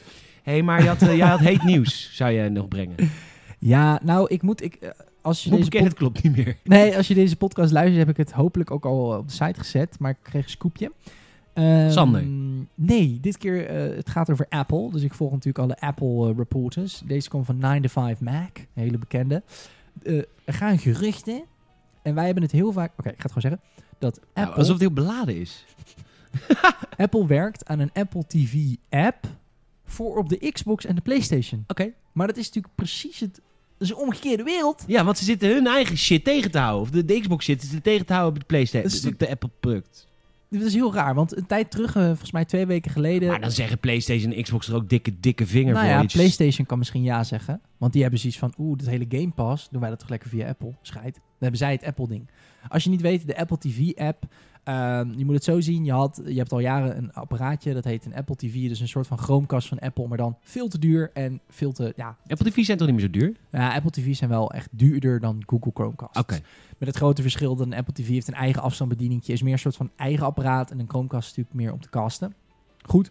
[SPEAKER 2] hey, maar je had, eh, jij had heet nieuws, zou jij nog brengen.
[SPEAKER 1] Ja, nou, ik moet... Ik, eh, als je
[SPEAKER 2] Hoe
[SPEAKER 1] deze
[SPEAKER 2] bekend het klopt niet meer.
[SPEAKER 1] Nee, als je deze podcast luistert, heb ik het hopelijk ook al op de site gezet. Maar ik kreeg een scoopje. Ehm,
[SPEAKER 2] Sander.
[SPEAKER 1] Nee, dit keer eh, het gaat over Apple. Dus ik volg natuurlijk alle Apple eh, reporters. Deze komt van 9 to 5 Mac, een hele bekende. Eh, er gaan geruchten. En wij hebben het heel vaak... Oké, ik ga het gewoon zeggen. Dat
[SPEAKER 2] Nou,
[SPEAKER 1] Apple,
[SPEAKER 2] alsof het heel beladen is.
[SPEAKER 1] Apple werkt aan een Apple TV-app voor op de Xbox en de PlayStation.
[SPEAKER 2] Oké.
[SPEAKER 1] Maar dat is natuurlijk precies het... Dat is een omgekeerde wereld.
[SPEAKER 2] Ja, want ze zitten hun eigen shit tegen te houden. Of de, de Xbox shit zitten tegen te houden op de
[SPEAKER 1] Dat is
[SPEAKER 2] PlayStation. Op
[SPEAKER 1] natuurlijk-
[SPEAKER 2] de Apple product.
[SPEAKER 1] Dat is heel raar, want een tijd terug, eh, volgens mij twee weken geleden...
[SPEAKER 2] Maar dan zeggen PlayStation en Xbox er ook dikke, dikke vinger
[SPEAKER 1] Nou
[SPEAKER 2] voor
[SPEAKER 1] ja,
[SPEAKER 2] iets.
[SPEAKER 1] PlayStation kan misschien ja zeggen. Want die hebben zoiets van, oeh, dat hele Game Pass, doen wij dat toch lekker via Apple? Scheid. Dan hebben zij het Apple-ding. Als je niet weet, de Apple TV-app, ehm, je moet het zo zien. Je, had, je hebt al jaren een apparaatje, dat heet een Apple TV. Dus een soort van Chromecast van Apple, maar dan veel te duur en veel te... Ja,
[SPEAKER 2] Apple TV zijn toch niet meer zo duur?
[SPEAKER 1] nou ja, Apple TV's zijn wel echt duurder dan Google Chromecast.
[SPEAKER 2] Oké.
[SPEAKER 1] Met het grote verschil dat een Apple TV heeft een eigen afstandsbediening. is meer een soort van eigen apparaat. En een Chromecast is natuurlijk meer om te casten. Goed.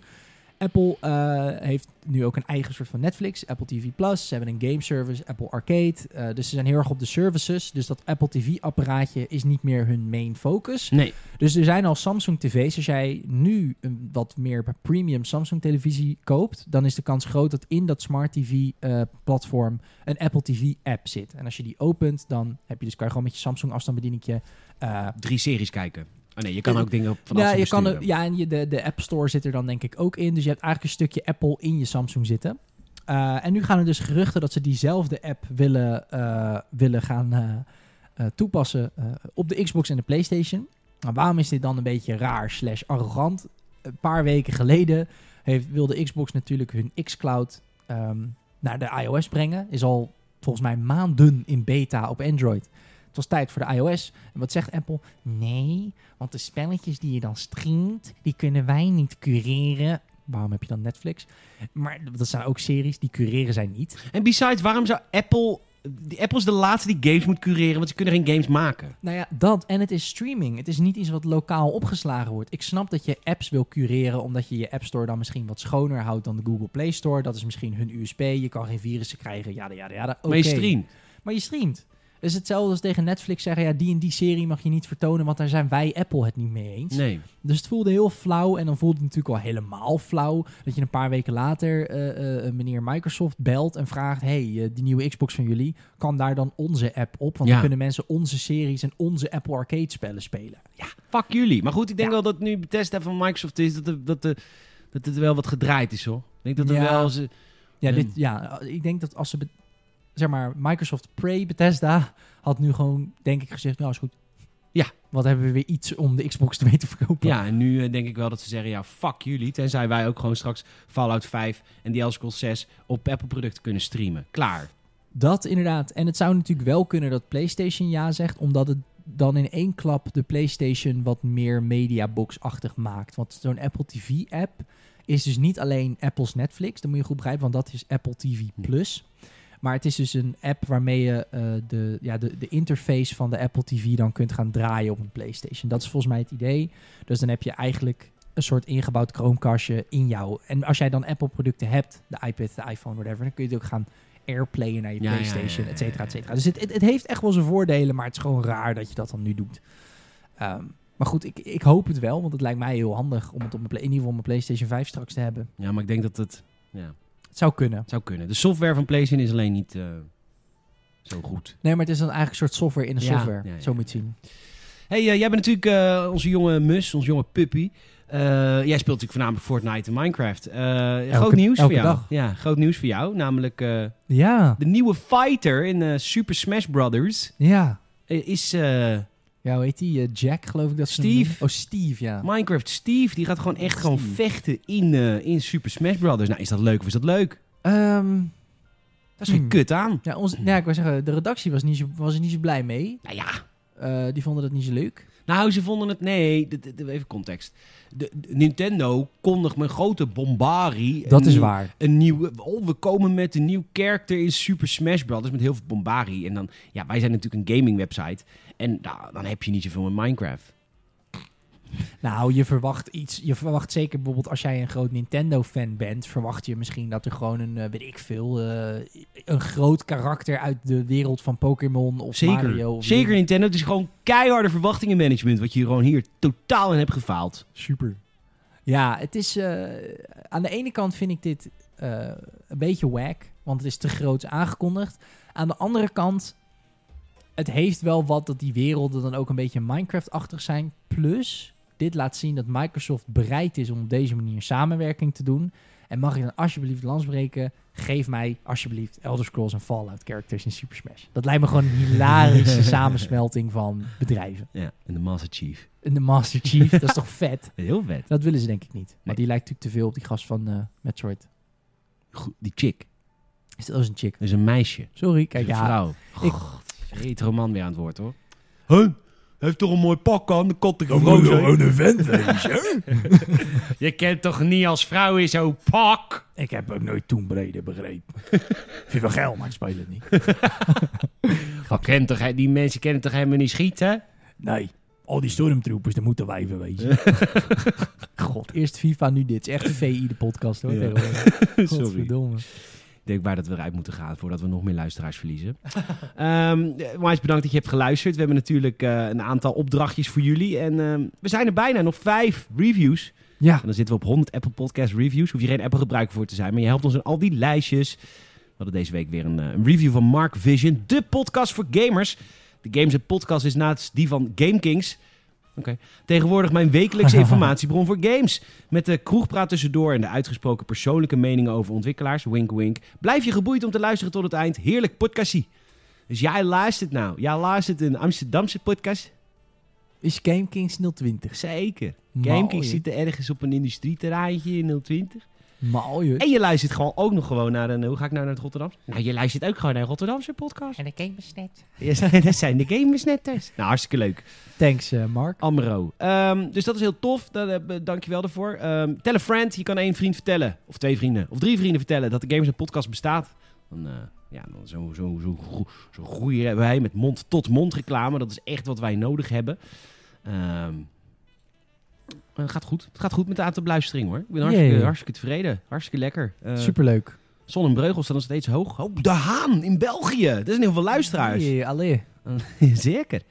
[SPEAKER 1] Apple eh, heeft nu ook een eigen soort van Netflix, Apple TV Plus. Ze hebben een game service, Apple Arcade. Eh, dus ze zijn heel erg op de services. Dus dat Apple TV-apparaatje is niet meer hun main focus.
[SPEAKER 2] Nee.
[SPEAKER 1] Dus er zijn al Samsung TV's. Als jij nu een wat meer premium Samsung televisie koopt, dan is de kans groot dat in dat smart TV eh, platform een Apple TV app zit. En als je die opent, dan heb je dus kan je gewoon met je Samsung afstandsbedieningje. eh
[SPEAKER 2] Drie series kijken. Oh nee, je kan ook dingen op vanaf
[SPEAKER 1] ja, je kan, er- ja, en je, de, de App Store zit er dan denk ik ook in. Dus je hebt eigenlijk een stukje Apple in je Samsung zitten. Eh, en nu gaan er dus geruchten dat ze diezelfde app willen, eh, willen gaan eh, eh, toepassen eh, op de Xbox en de PlayStation. Nou, waarom is dit dan een beetje raar slash arrogant? Een paar weken geleden heeft, wilde Xbox natuurlijk hun xCloud ehm, naar de iOS brengen. Is al volgens mij maanden in beta op Android. Het was tijd voor de iOS. En wat zegt Apple? Nee, want de spelletjes die je dan streamt, die kunnen wij niet cureren. Waarom heb je dan Netflix? Maar dat zijn ook series, die cureren zij niet.
[SPEAKER 2] En besides, waarom zou Apple... Die Apple is de laatste die games moet cureren, want ze kunnen geen games maken.
[SPEAKER 1] Nou ja, dat. En het is streaming. Het is niet iets wat lokaal opgeslagen wordt. Ik snap dat je apps wil cureren, omdat je je App Store dan misschien wat schoner houdt dan de Google Play Store. Dat is misschien hun USP. Je kan geen virussen krijgen, jada, jada, jada.
[SPEAKER 2] Maar je
[SPEAKER 1] Oké.
[SPEAKER 2] stream.
[SPEAKER 1] Maar je streamt. is hetzelfde als tegen Netflix zeggen, ja, die en die serie mag je niet vertonen, want daar zijn wij Apple het niet mee eens.
[SPEAKER 2] Nee.
[SPEAKER 1] Dus het voelde heel flauw en dan voelde het natuurlijk al helemaal flauw dat je een paar weken later eh, eh, meneer Microsoft belt en vraagt, hey, eh, die nieuwe Xbox van jullie, kan daar dan onze app op? Want
[SPEAKER 2] Ja.
[SPEAKER 1] dan kunnen mensen onze series en onze Apple Arcade spellen spelen. Ja,
[SPEAKER 2] Fuck jullie. Maar goed, ik denk
[SPEAKER 1] Ja.
[SPEAKER 2] wel dat nu Bethesda van Microsoft is, dat, er- dat, de dat het wel wat gedraaid is, hoor. Ik denk dat er
[SPEAKER 1] Ja.
[SPEAKER 2] wel... Ze,
[SPEAKER 1] ja,
[SPEAKER 2] Hmm.
[SPEAKER 1] dit, ja eh, ik denk dat als ze, be- zeg maar, Microsoft pre Bethesda had nu gewoon, denk ik, gezegd, nou is goed.
[SPEAKER 2] Ja.
[SPEAKER 1] Wat hebben we weer iets om de Xbox ermee te verkopen?
[SPEAKER 2] Ja, en nu eh, denk ik wel dat ze zeggen, ja, fuck jullie. Tenzij wij ook gewoon straks Fallout 5 en The Elder Scrolls 6 op Apple-producten kunnen streamen. Klaar.
[SPEAKER 1] Dat inderdaad. En het zou natuurlijk wel kunnen dat PlayStation ja zegt, omdat het dan in één klap de PlayStation wat meer mediabox-achtig maakt. Want zo'n Apple TV-app is dus niet alleen Apple's Netflix, dat moet je goed begrijpen, want dat is Apple TV Plus. Maar het is dus een app waarmee je eh, de, ja, de, de interface van de Apple TV dan kunt gaan draaien op een PlayStation. Dat is volgens mij het idee. Dus dan heb je eigenlijk een soort ingebouwd Chromecastje in jou. En als jij dan Apple-producten hebt, de iPad, de iPhone, whatever, dan kun je het ook gaan airplayen naar je
[SPEAKER 2] Ja, ja, ja, ja,
[SPEAKER 1] PlayStation,
[SPEAKER 2] ja.
[SPEAKER 1] et cetera, et cetera. Dus het, het, het heeft echt wel zijn voordelen, maar het is gewoon raar dat je dat dan nu doet. Ehm, maar goed, ik, ik hoop het wel, want het lijkt mij heel handig om het op mijn, Play- in ieder geval op mijn PlayStation 5 straks te hebben.
[SPEAKER 2] Ja, maar ik denk dat het ja,
[SPEAKER 1] Het zou kunnen.
[SPEAKER 2] het zou kunnen. De software van PlayStation is alleen niet eh, zo goed.
[SPEAKER 1] Nee, maar het is dan eigenlijk een soort software in de
[SPEAKER 2] Ja,
[SPEAKER 1] software,
[SPEAKER 2] ja, ja,
[SPEAKER 1] zo
[SPEAKER 2] ja.
[SPEAKER 1] moet je het zien.
[SPEAKER 2] hey, eh, jij bent natuurlijk eh, onze jonge mus, onze jonge puppy. Eh, jij speelt natuurlijk voornamelijk Fortnite en Minecraft. Eh, groot nieuws
[SPEAKER 1] elke
[SPEAKER 2] voor jou.
[SPEAKER 1] dag.
[SPEAKER 2] Ja, groot nieuws voor jou. Namelijk eh,
[SPEAKER 1] Ja,
[SPEAKER 2] de nieuwe fighter in eh, Super Smash Brothers
[SPEAKER 1] ja.
[SPEAKER 2] eh, is eh,
[SPEAKER 1] Ja, hoe heet die? Eh, Jack, geloof ik dat ze hem
[SPEAKER 2] Steve.
[SPEAKER 1] noemen. Oh, Steve, ja.
[SPEAKER 2] Minecraft Steve, die gaat gewoon echt gewoon
[SPEAKER 1] Steve.
[SPEAKER 2] vechten in, eh, in Super Smash Brothers. Nou, is dat leuk of is dat leuk?
[SPEAKER 1] Ehm,
[SPEAKER 2] Dat is geen
[SPEAKER 1] Hmm.
[SPEAKER 2] kut aan.
[SPEAKER 1] ja, ons, nou ja, ik wil zeggen, de redactie was, niet zo, was er niet zo blij mee.
[SPEAKER 2] Nou ja.
[SPEAKER 1] Eh, die vonden dat niet zo leuk.
[SPEAKER 2] Nou, ze vonden het... Nee, d- d- d- even context. De, de- Nintendo kondigt met grote bombari... een nieuw-
[SPEAKER 1] waar.
[SPEAKER 2] Een nieuwe... Oh, we komen met een nieuw character in Super Smash Brothers. Met heel veel bombari. En dan... Ja, wij zijn natuurlijk een gaming website. En nou, dan heb je niet zoveel in Minecraft.
[SPEAKER 1] Nou, je verwacht iets. Je verwacht zeker bijvoorbeeld als jij een groot Nintendo-fan bent, verwacht je misschien dat er gewoon een, eh, weet ik veel, eh, een groot karakter uit de wereld van Pokémon of
[SPEAKER 2] Zeker.
[SPEAKER 1] Mario. Of
[SPEAKER 2] Zeker Nintendo. Het is gewoon keiharde verwachtingenmanagement. Wat je gewoon hier totaal in hebt gefaald.
[SPEAKER 1] Super. Ja, het is. eh, aan de ene kant vind ik dit eh, een beetje wack, want het is te groot aangekondigd. Aan de andere kant, het heeft wel wat dat die werelden dan ook een beetje Minecraft-achtig zijn. Plus, dit laat zien dat Microsoft bereid is om op deze manier samenwerking te doen. En mag ik dan alsjeblieft landsbreken? Geef mij alsjeblieft Elder Scrolls en Fallout characters in Super Smash. Dat lijkt me gewoon een hilarische <laughs> samensmelting van bedrijven.
[SPEAKER 2] Ja, en de Master Chief.
[SPEAKER 1] En de Master Chief, dat is toch vet?
[SPEAKER 2] Heel vet.
[SPEAKER 1] Dat willen ze denk ik niet. Maar
[SPEAKER 2] Nee.
[SPEAKER 1] die lijkt natuurlijk te veel op die gast van eh, Metroid.
[SPEAKER 2] Goed, die chick.
[SPEAKER 1] Is dat als een chick?
[SPEAKER 2] Dat is een meisje.
[SPEAKER 1] Sorry,
[SPEAKER 2] Kijk,
[SPEAKER 1] kijk,
[SPEAKER 2] een
[SPEAKER 1] ja.
[SPEAKER 2] vrouw.
[SPEAKER 1] ik-
[SPEAKER 2] God, hetero man weer aan het woord, hoor. Huh? Heeft toch een mooi pak aan, de kat
[SPEAKER 1] een vent,
[SPEAKER 2] Oh,
[SPEAKER 1] <laughs>
[SPEAKER 2] Je kent toch niet als vrouw in zo'n pak?
[SPEAKER 1] Ik heb ook nooit toen breder begrepen. <laughs> Vind wel geil, maar ik speel het niet.
[SPEAKER 2] Kent toch, die mensen kennen toch helemaal niet schieten?
[SPEAKER 1] Nee, al die stormtroepers, daar moeten wij wezen. <laughs> God, eerst FIFA, nu dit. Het is echt VI de podcast hoor.
[SPEAKER 2] Ja.
[SPEAKER 1] tegenwoordig. <laughs> Godverdomme.
[SPEAKER 2] Ik denk waar dat we uit moeten gaan voordat we nog meer luisteraars verliezen. <laughs> Ehm onwijs bedankt dat je hebt geluisterd. We hebben natuurlijk eh, een aantal opdrachtjes voor jullie. En ehm, we zijn er bijna, nog vijf reviews.
[SPEAKER 1] Ja,
[SPEAKER 2] En dan zitten we op 100 Apple Podcast reviews. Hoef je geen Apple gebruiker voor te zijn, maar je helpt ons in al die lijstjes. We hadden deze week weer een, eh, een review van Mark Vision, de podcast voor gamers. De Games en Podcast is naast die van GameKings. Oké. Tegenwoordig mijn wekelijkse informatiebron voor games. Met de kroegpraat tussendoor en de uitgesproken persoonlijke meningen over ontwikkelaars. Wink, wink. Blijf je geboeid om te luisteren tot het eind. Heerlijk podcastie. Dus jij luistert nou. Jij luistert een Amsterdamse podcast.
[SPEAKER 1] is Game Kings 020.
[SPEAKER 2] Zeker.
[SPEAKER 1] Mooi.
[SPEAKER 2] GameKings zit er ergens op een industrieterreintje in 020.
[SPEAKER 1] Maal, joh.
[SPEAKER 2] En je luistert gewoon ook nog gewoon naar een... Hoe ga ik nou naar het Rotterdamse? Nou, je luistert ook gewoon naar een Rotterdamse podcast.
[SPEAKER 3] En de net.
[SPEAKER 2] <laughs> Ja, dat zijn de gamersnetters. Nou, hartstikke leuk.
[SPEAKER 1] Thanks, eh, Mark.
[SPEAKER 2] Amro. Ehm, dus dat is heel tof. Daar, eh, be- Dank je wel daarvoor. Ehm, tel een friend. Je kan één vriend vertellen. Of twee vrienden. Of drie vrienden vertellen dat de Gamers en Podcast bestaat. Dan, eh, ja, dan zo, zo, zo, groe- zo groeien wij met mond-tot-mond reclame. Dat is echt wat wij nodig hebben. Ehm, eh, gaat goed. Het gaat goed met de aantal beluisteringen hoor. Ik ben hartstikke,
[SPEAKER 1] Jee.
[SPEAKER 2] hartstikke tevreden. Hartstikke lekker. Eh,
[SPEAKER 1] Superleuk.
[SPEAKER 2] Zonnebreugel staat nog steeds hoog. Oh, de Haan in België. Er zijn heel veel luisteraars.
[SPEAKER 1] Hey, allee.
[SPEAKER 2] <laughs> Zeker.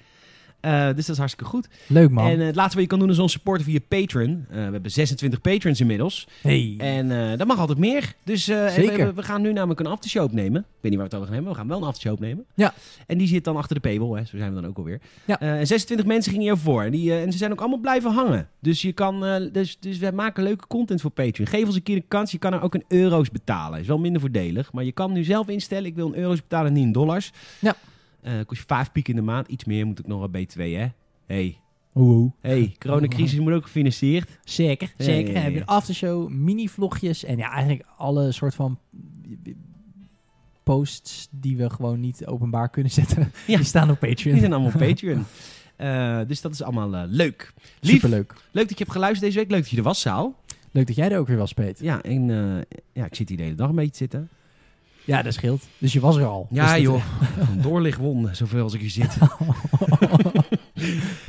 [SPEAKER 2] Eh, dus dat is hartstikke goed.
[SPEAKER 1] Leuk man.
[SPEAKER 2] En eh, het laatste wat je kan doen is ons supporten via Patreon. Eh, we hebben 26 patrons inmiddels.
[SPEAKER 1] hey.
[SPEAKER 2] En eh, dat mag altijd meer. Dus eh, en
[SPEAKER 1] Zeker.
[SPEAKER 2] We, we gaan nu namelijk een aftershow opnemen. Ik weet niet waar we het over gaan hebben. maar We gaan wel een aftershow opnemen.
[SPEAKER 1] Ja.
[SPEAKER 2] En die zit dan achter de paywall. Hè. Zo zijn we dan ook alweer.
[SPEAKER 1] Ja.
[SPEAKER 2] Eh, en 26 mensen gingen hiervoor. En, die, eh, en ze zijn ook allemaal blijven hangen. Dus, je kan, eh, dus, dus we maken leuke content voor Patreon. Geef ons een keer een kans. Je kan er ook in euro's betalen. Is wel minder voordelig. Maar je kan nu zelf instellen. Ik wil in euro's betalen, niet in dollars.
[SPEAKER 1] Ja.
[SPEAKER 2] Eh, kost je 5 piek in de maand. Iets meer moet ik nog wat B2, hè? Hey.
[SPEAKER 1] Hoe, hoe.
[SPEAKER 2] Hey, coronacrisis moet ook gefinancierd.
[SPEAKER 1] Zeker,
[SPEAKER 2] Ja,
[SPEAKER 1] zeker.
[SPEAKER 2] ja, ja,
[SPEAKER 1] Dan heb je
[SPEAKER 2] ja.
[SPEAKER 1] een aftershow, mini-vlogjes en ja, eigenlijk alle soort van posts die we gewoon niet openbaar kunnen zetten.
[SPEAKER 2] <laughs> Ja.
[SPEAKER 1] Die staan op
[SPEAKER 2] Die
[SPEAKER 1] Patreon.
[SPEAKER 2] zijn allemaal op
[SPEAKER 1] <laughs>
[SPEAKER 2] Patreon. Eh, dus dat is allemaal eh, leuk. Lief,
[SPEAKER 1] Superleuk.
[SPEAKER 2] leuk dat je hebt geluisterd deze week. Leuk dat je er was, Saal.
[SPEAKER 1] Leuk dat jij er ook weer was, Peet.
[SPEAKER 2] Ja, en eh, ja, ik zit hier de hele dag een beetje te zitten.
[SPEAKER 1] Ja, dat scheelt. Dus je was er al. Dus
[SPEAKER 2] Ja,
[SPEAKER 1] dat-
[SPEAKER 2] joh. eh, <laughs> Doorlichtwonden, zoveel als ik hier
[SPEAKER 1] <laughs>
[SPEAKER 2] zit.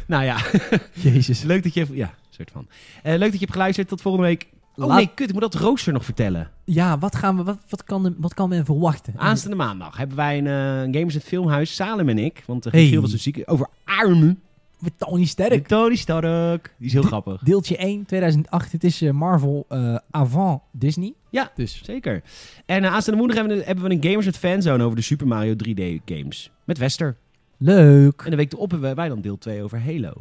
[SPEAKER 2] nou ja,
[SPEAKER 1] <laughs> Jezus.
[SPEAKER 2] leuk dat je... even- Ja, soort van. Eh, leuk dat je hebt geluisterd. Tot volgende week. Oh
[SPEAKER 1] Laat-
[SPEAKER 2] nee, kut. Ik moet dat rooster nog vertellen.
[SPEAKER 1] Ja, wat, gaan we, wat, wat, kan, de- wat kan men verwachten?
[SPEAKER 2] Aanstaande maandag hebben wij een eh, Gamers het Filmhuis. Salem en ik. Want uh,
[SPEAKER 1] Hey.
[SPEAKER 2] Giel was zo ziek. Over Arm.
[SPEAKER 1] Met Tony Sterk.
[SPEAKER 2] Tony Stark. Die is heel
[SPEAKER 1] Dit-
[SPEAKER 2] grappig.
[SPEAKER 1] Deeltje 1, 2008. Het is eh, Marvel eh, avant Disney.
[SPEAKER 2] Ja.
[SPEAKER 1] Dus
[SPEAKER 2] Zeker. En eh, aanstaande woensdag hebben we, hebben we een Gamers met Fanzone over de Super Mario 3D games. Met Wester.
[SPEAKER 1] leuk.
[SPEAKER 2] En de week erop hebben wij dan deel 2 over Halo.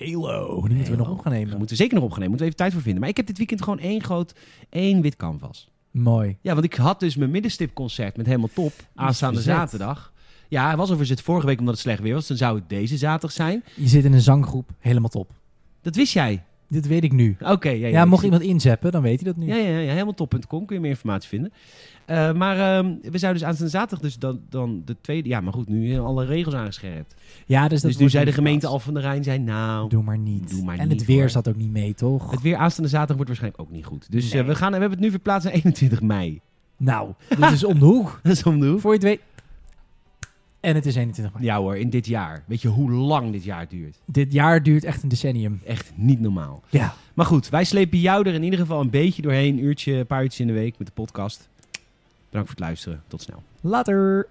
[SPEAKER 1] Halo. Die moeten we nog
[SPEAKER 2] Halo.
[SPEAKER 1] op gaan
[SPEAKER 2] Daar
[SPEAKER 1] nemen.
[SPEAKER 2] moeten we zeker nog opgenomen. Moeten we even tijd voor vinden. Maar ik heb dit weekend gewoon één groot, één wit canvas.
[SPEAKER 1] Mooi.
[SPEAKER 2] Ja, want ik had dus mijn middenstipconcert met helemaal top aanstaande
[SPEAKER 1] verzet.
[SPEAKER 2] zaterdag. Ja, hij was overigens het vorige week omdat het slecht weer was. Dan zou het deze zaterdag zijn.
[SPEAKER 1] Je zit in een zanggroep. Helemaal top.
[SPEAKER 2] Dat wist jij.
[SPEAKER 1] Dit weet ik nu.
[SPEAKER 2] Oké. ja,
[SPEAKER 1] Ja, mocht
[SPEAKER 2] ik-
[SPEAKER 1] iemand inzeppen, dan weet hij dat nu.
[SPEAKER 2] Ja, ja, ja, helemaal top.com kun je meer informatie vinden. Eh, maar ehm, we zouden dus aanstaande zaterdag dus dan, dan de tweede... Ja, maar goed, nu zijn alle regels aangescherpt.
[SPEAKER 1] Ja, dus dat
[SPEAKER 2] dus nu
[SPEAKER 1] wordt
[SPEAKER 2] zei de
[SPEAKER 1] niet
[SPEAKER 2] gemeente al
[SPEAKER 1] verplaatst.
[SPEAKER 2] van de Rijn, zei nou...
[SPEAKER 1] Doe maar niet.
[SPEAKER 2] Doe maar
[SPEAKER 1] en
[SPEAKER 2] niet,
[SPEAKER 1] het weer
[SPEAKER 2] hoor.
[SPEAKER 1] zat ook niet mee, toch?
[SPEAKER 2] Het weer aanstaande zaterdag wordt waarschijnlijk ook niet goed. Dus eh,
[SPEAKER 1] Nee.
[SPEAKER 2] we, gaan, we hebben het nu verplaatst naar 21 mei. <laughs>
[SPEAKER 1] Nou, dit is om de hoek.
[SPEAKER 2] Dat is om de hoek.
[SPEAKER 1] Voor je het weet. En het is 21 mei.
[SPEAKER 2] Ja hoor, in dit jaar. Weet je hoe lang dit jaar duurt?
[SPEAKER 1] Dit jaar duurt echt een decennium.
[SPEAKER 2] Echt niet normaal.
[SPEAKER 1] Ja.
[SPEAKER 2] Maar goed, wij slepen jou er in ieder geval een beetje doorheen. Een uurtje, een paar uurtjes in de week met de podcast. Bedankt voor het luisteren. Tot snel.
[SPEAKER 1] Later.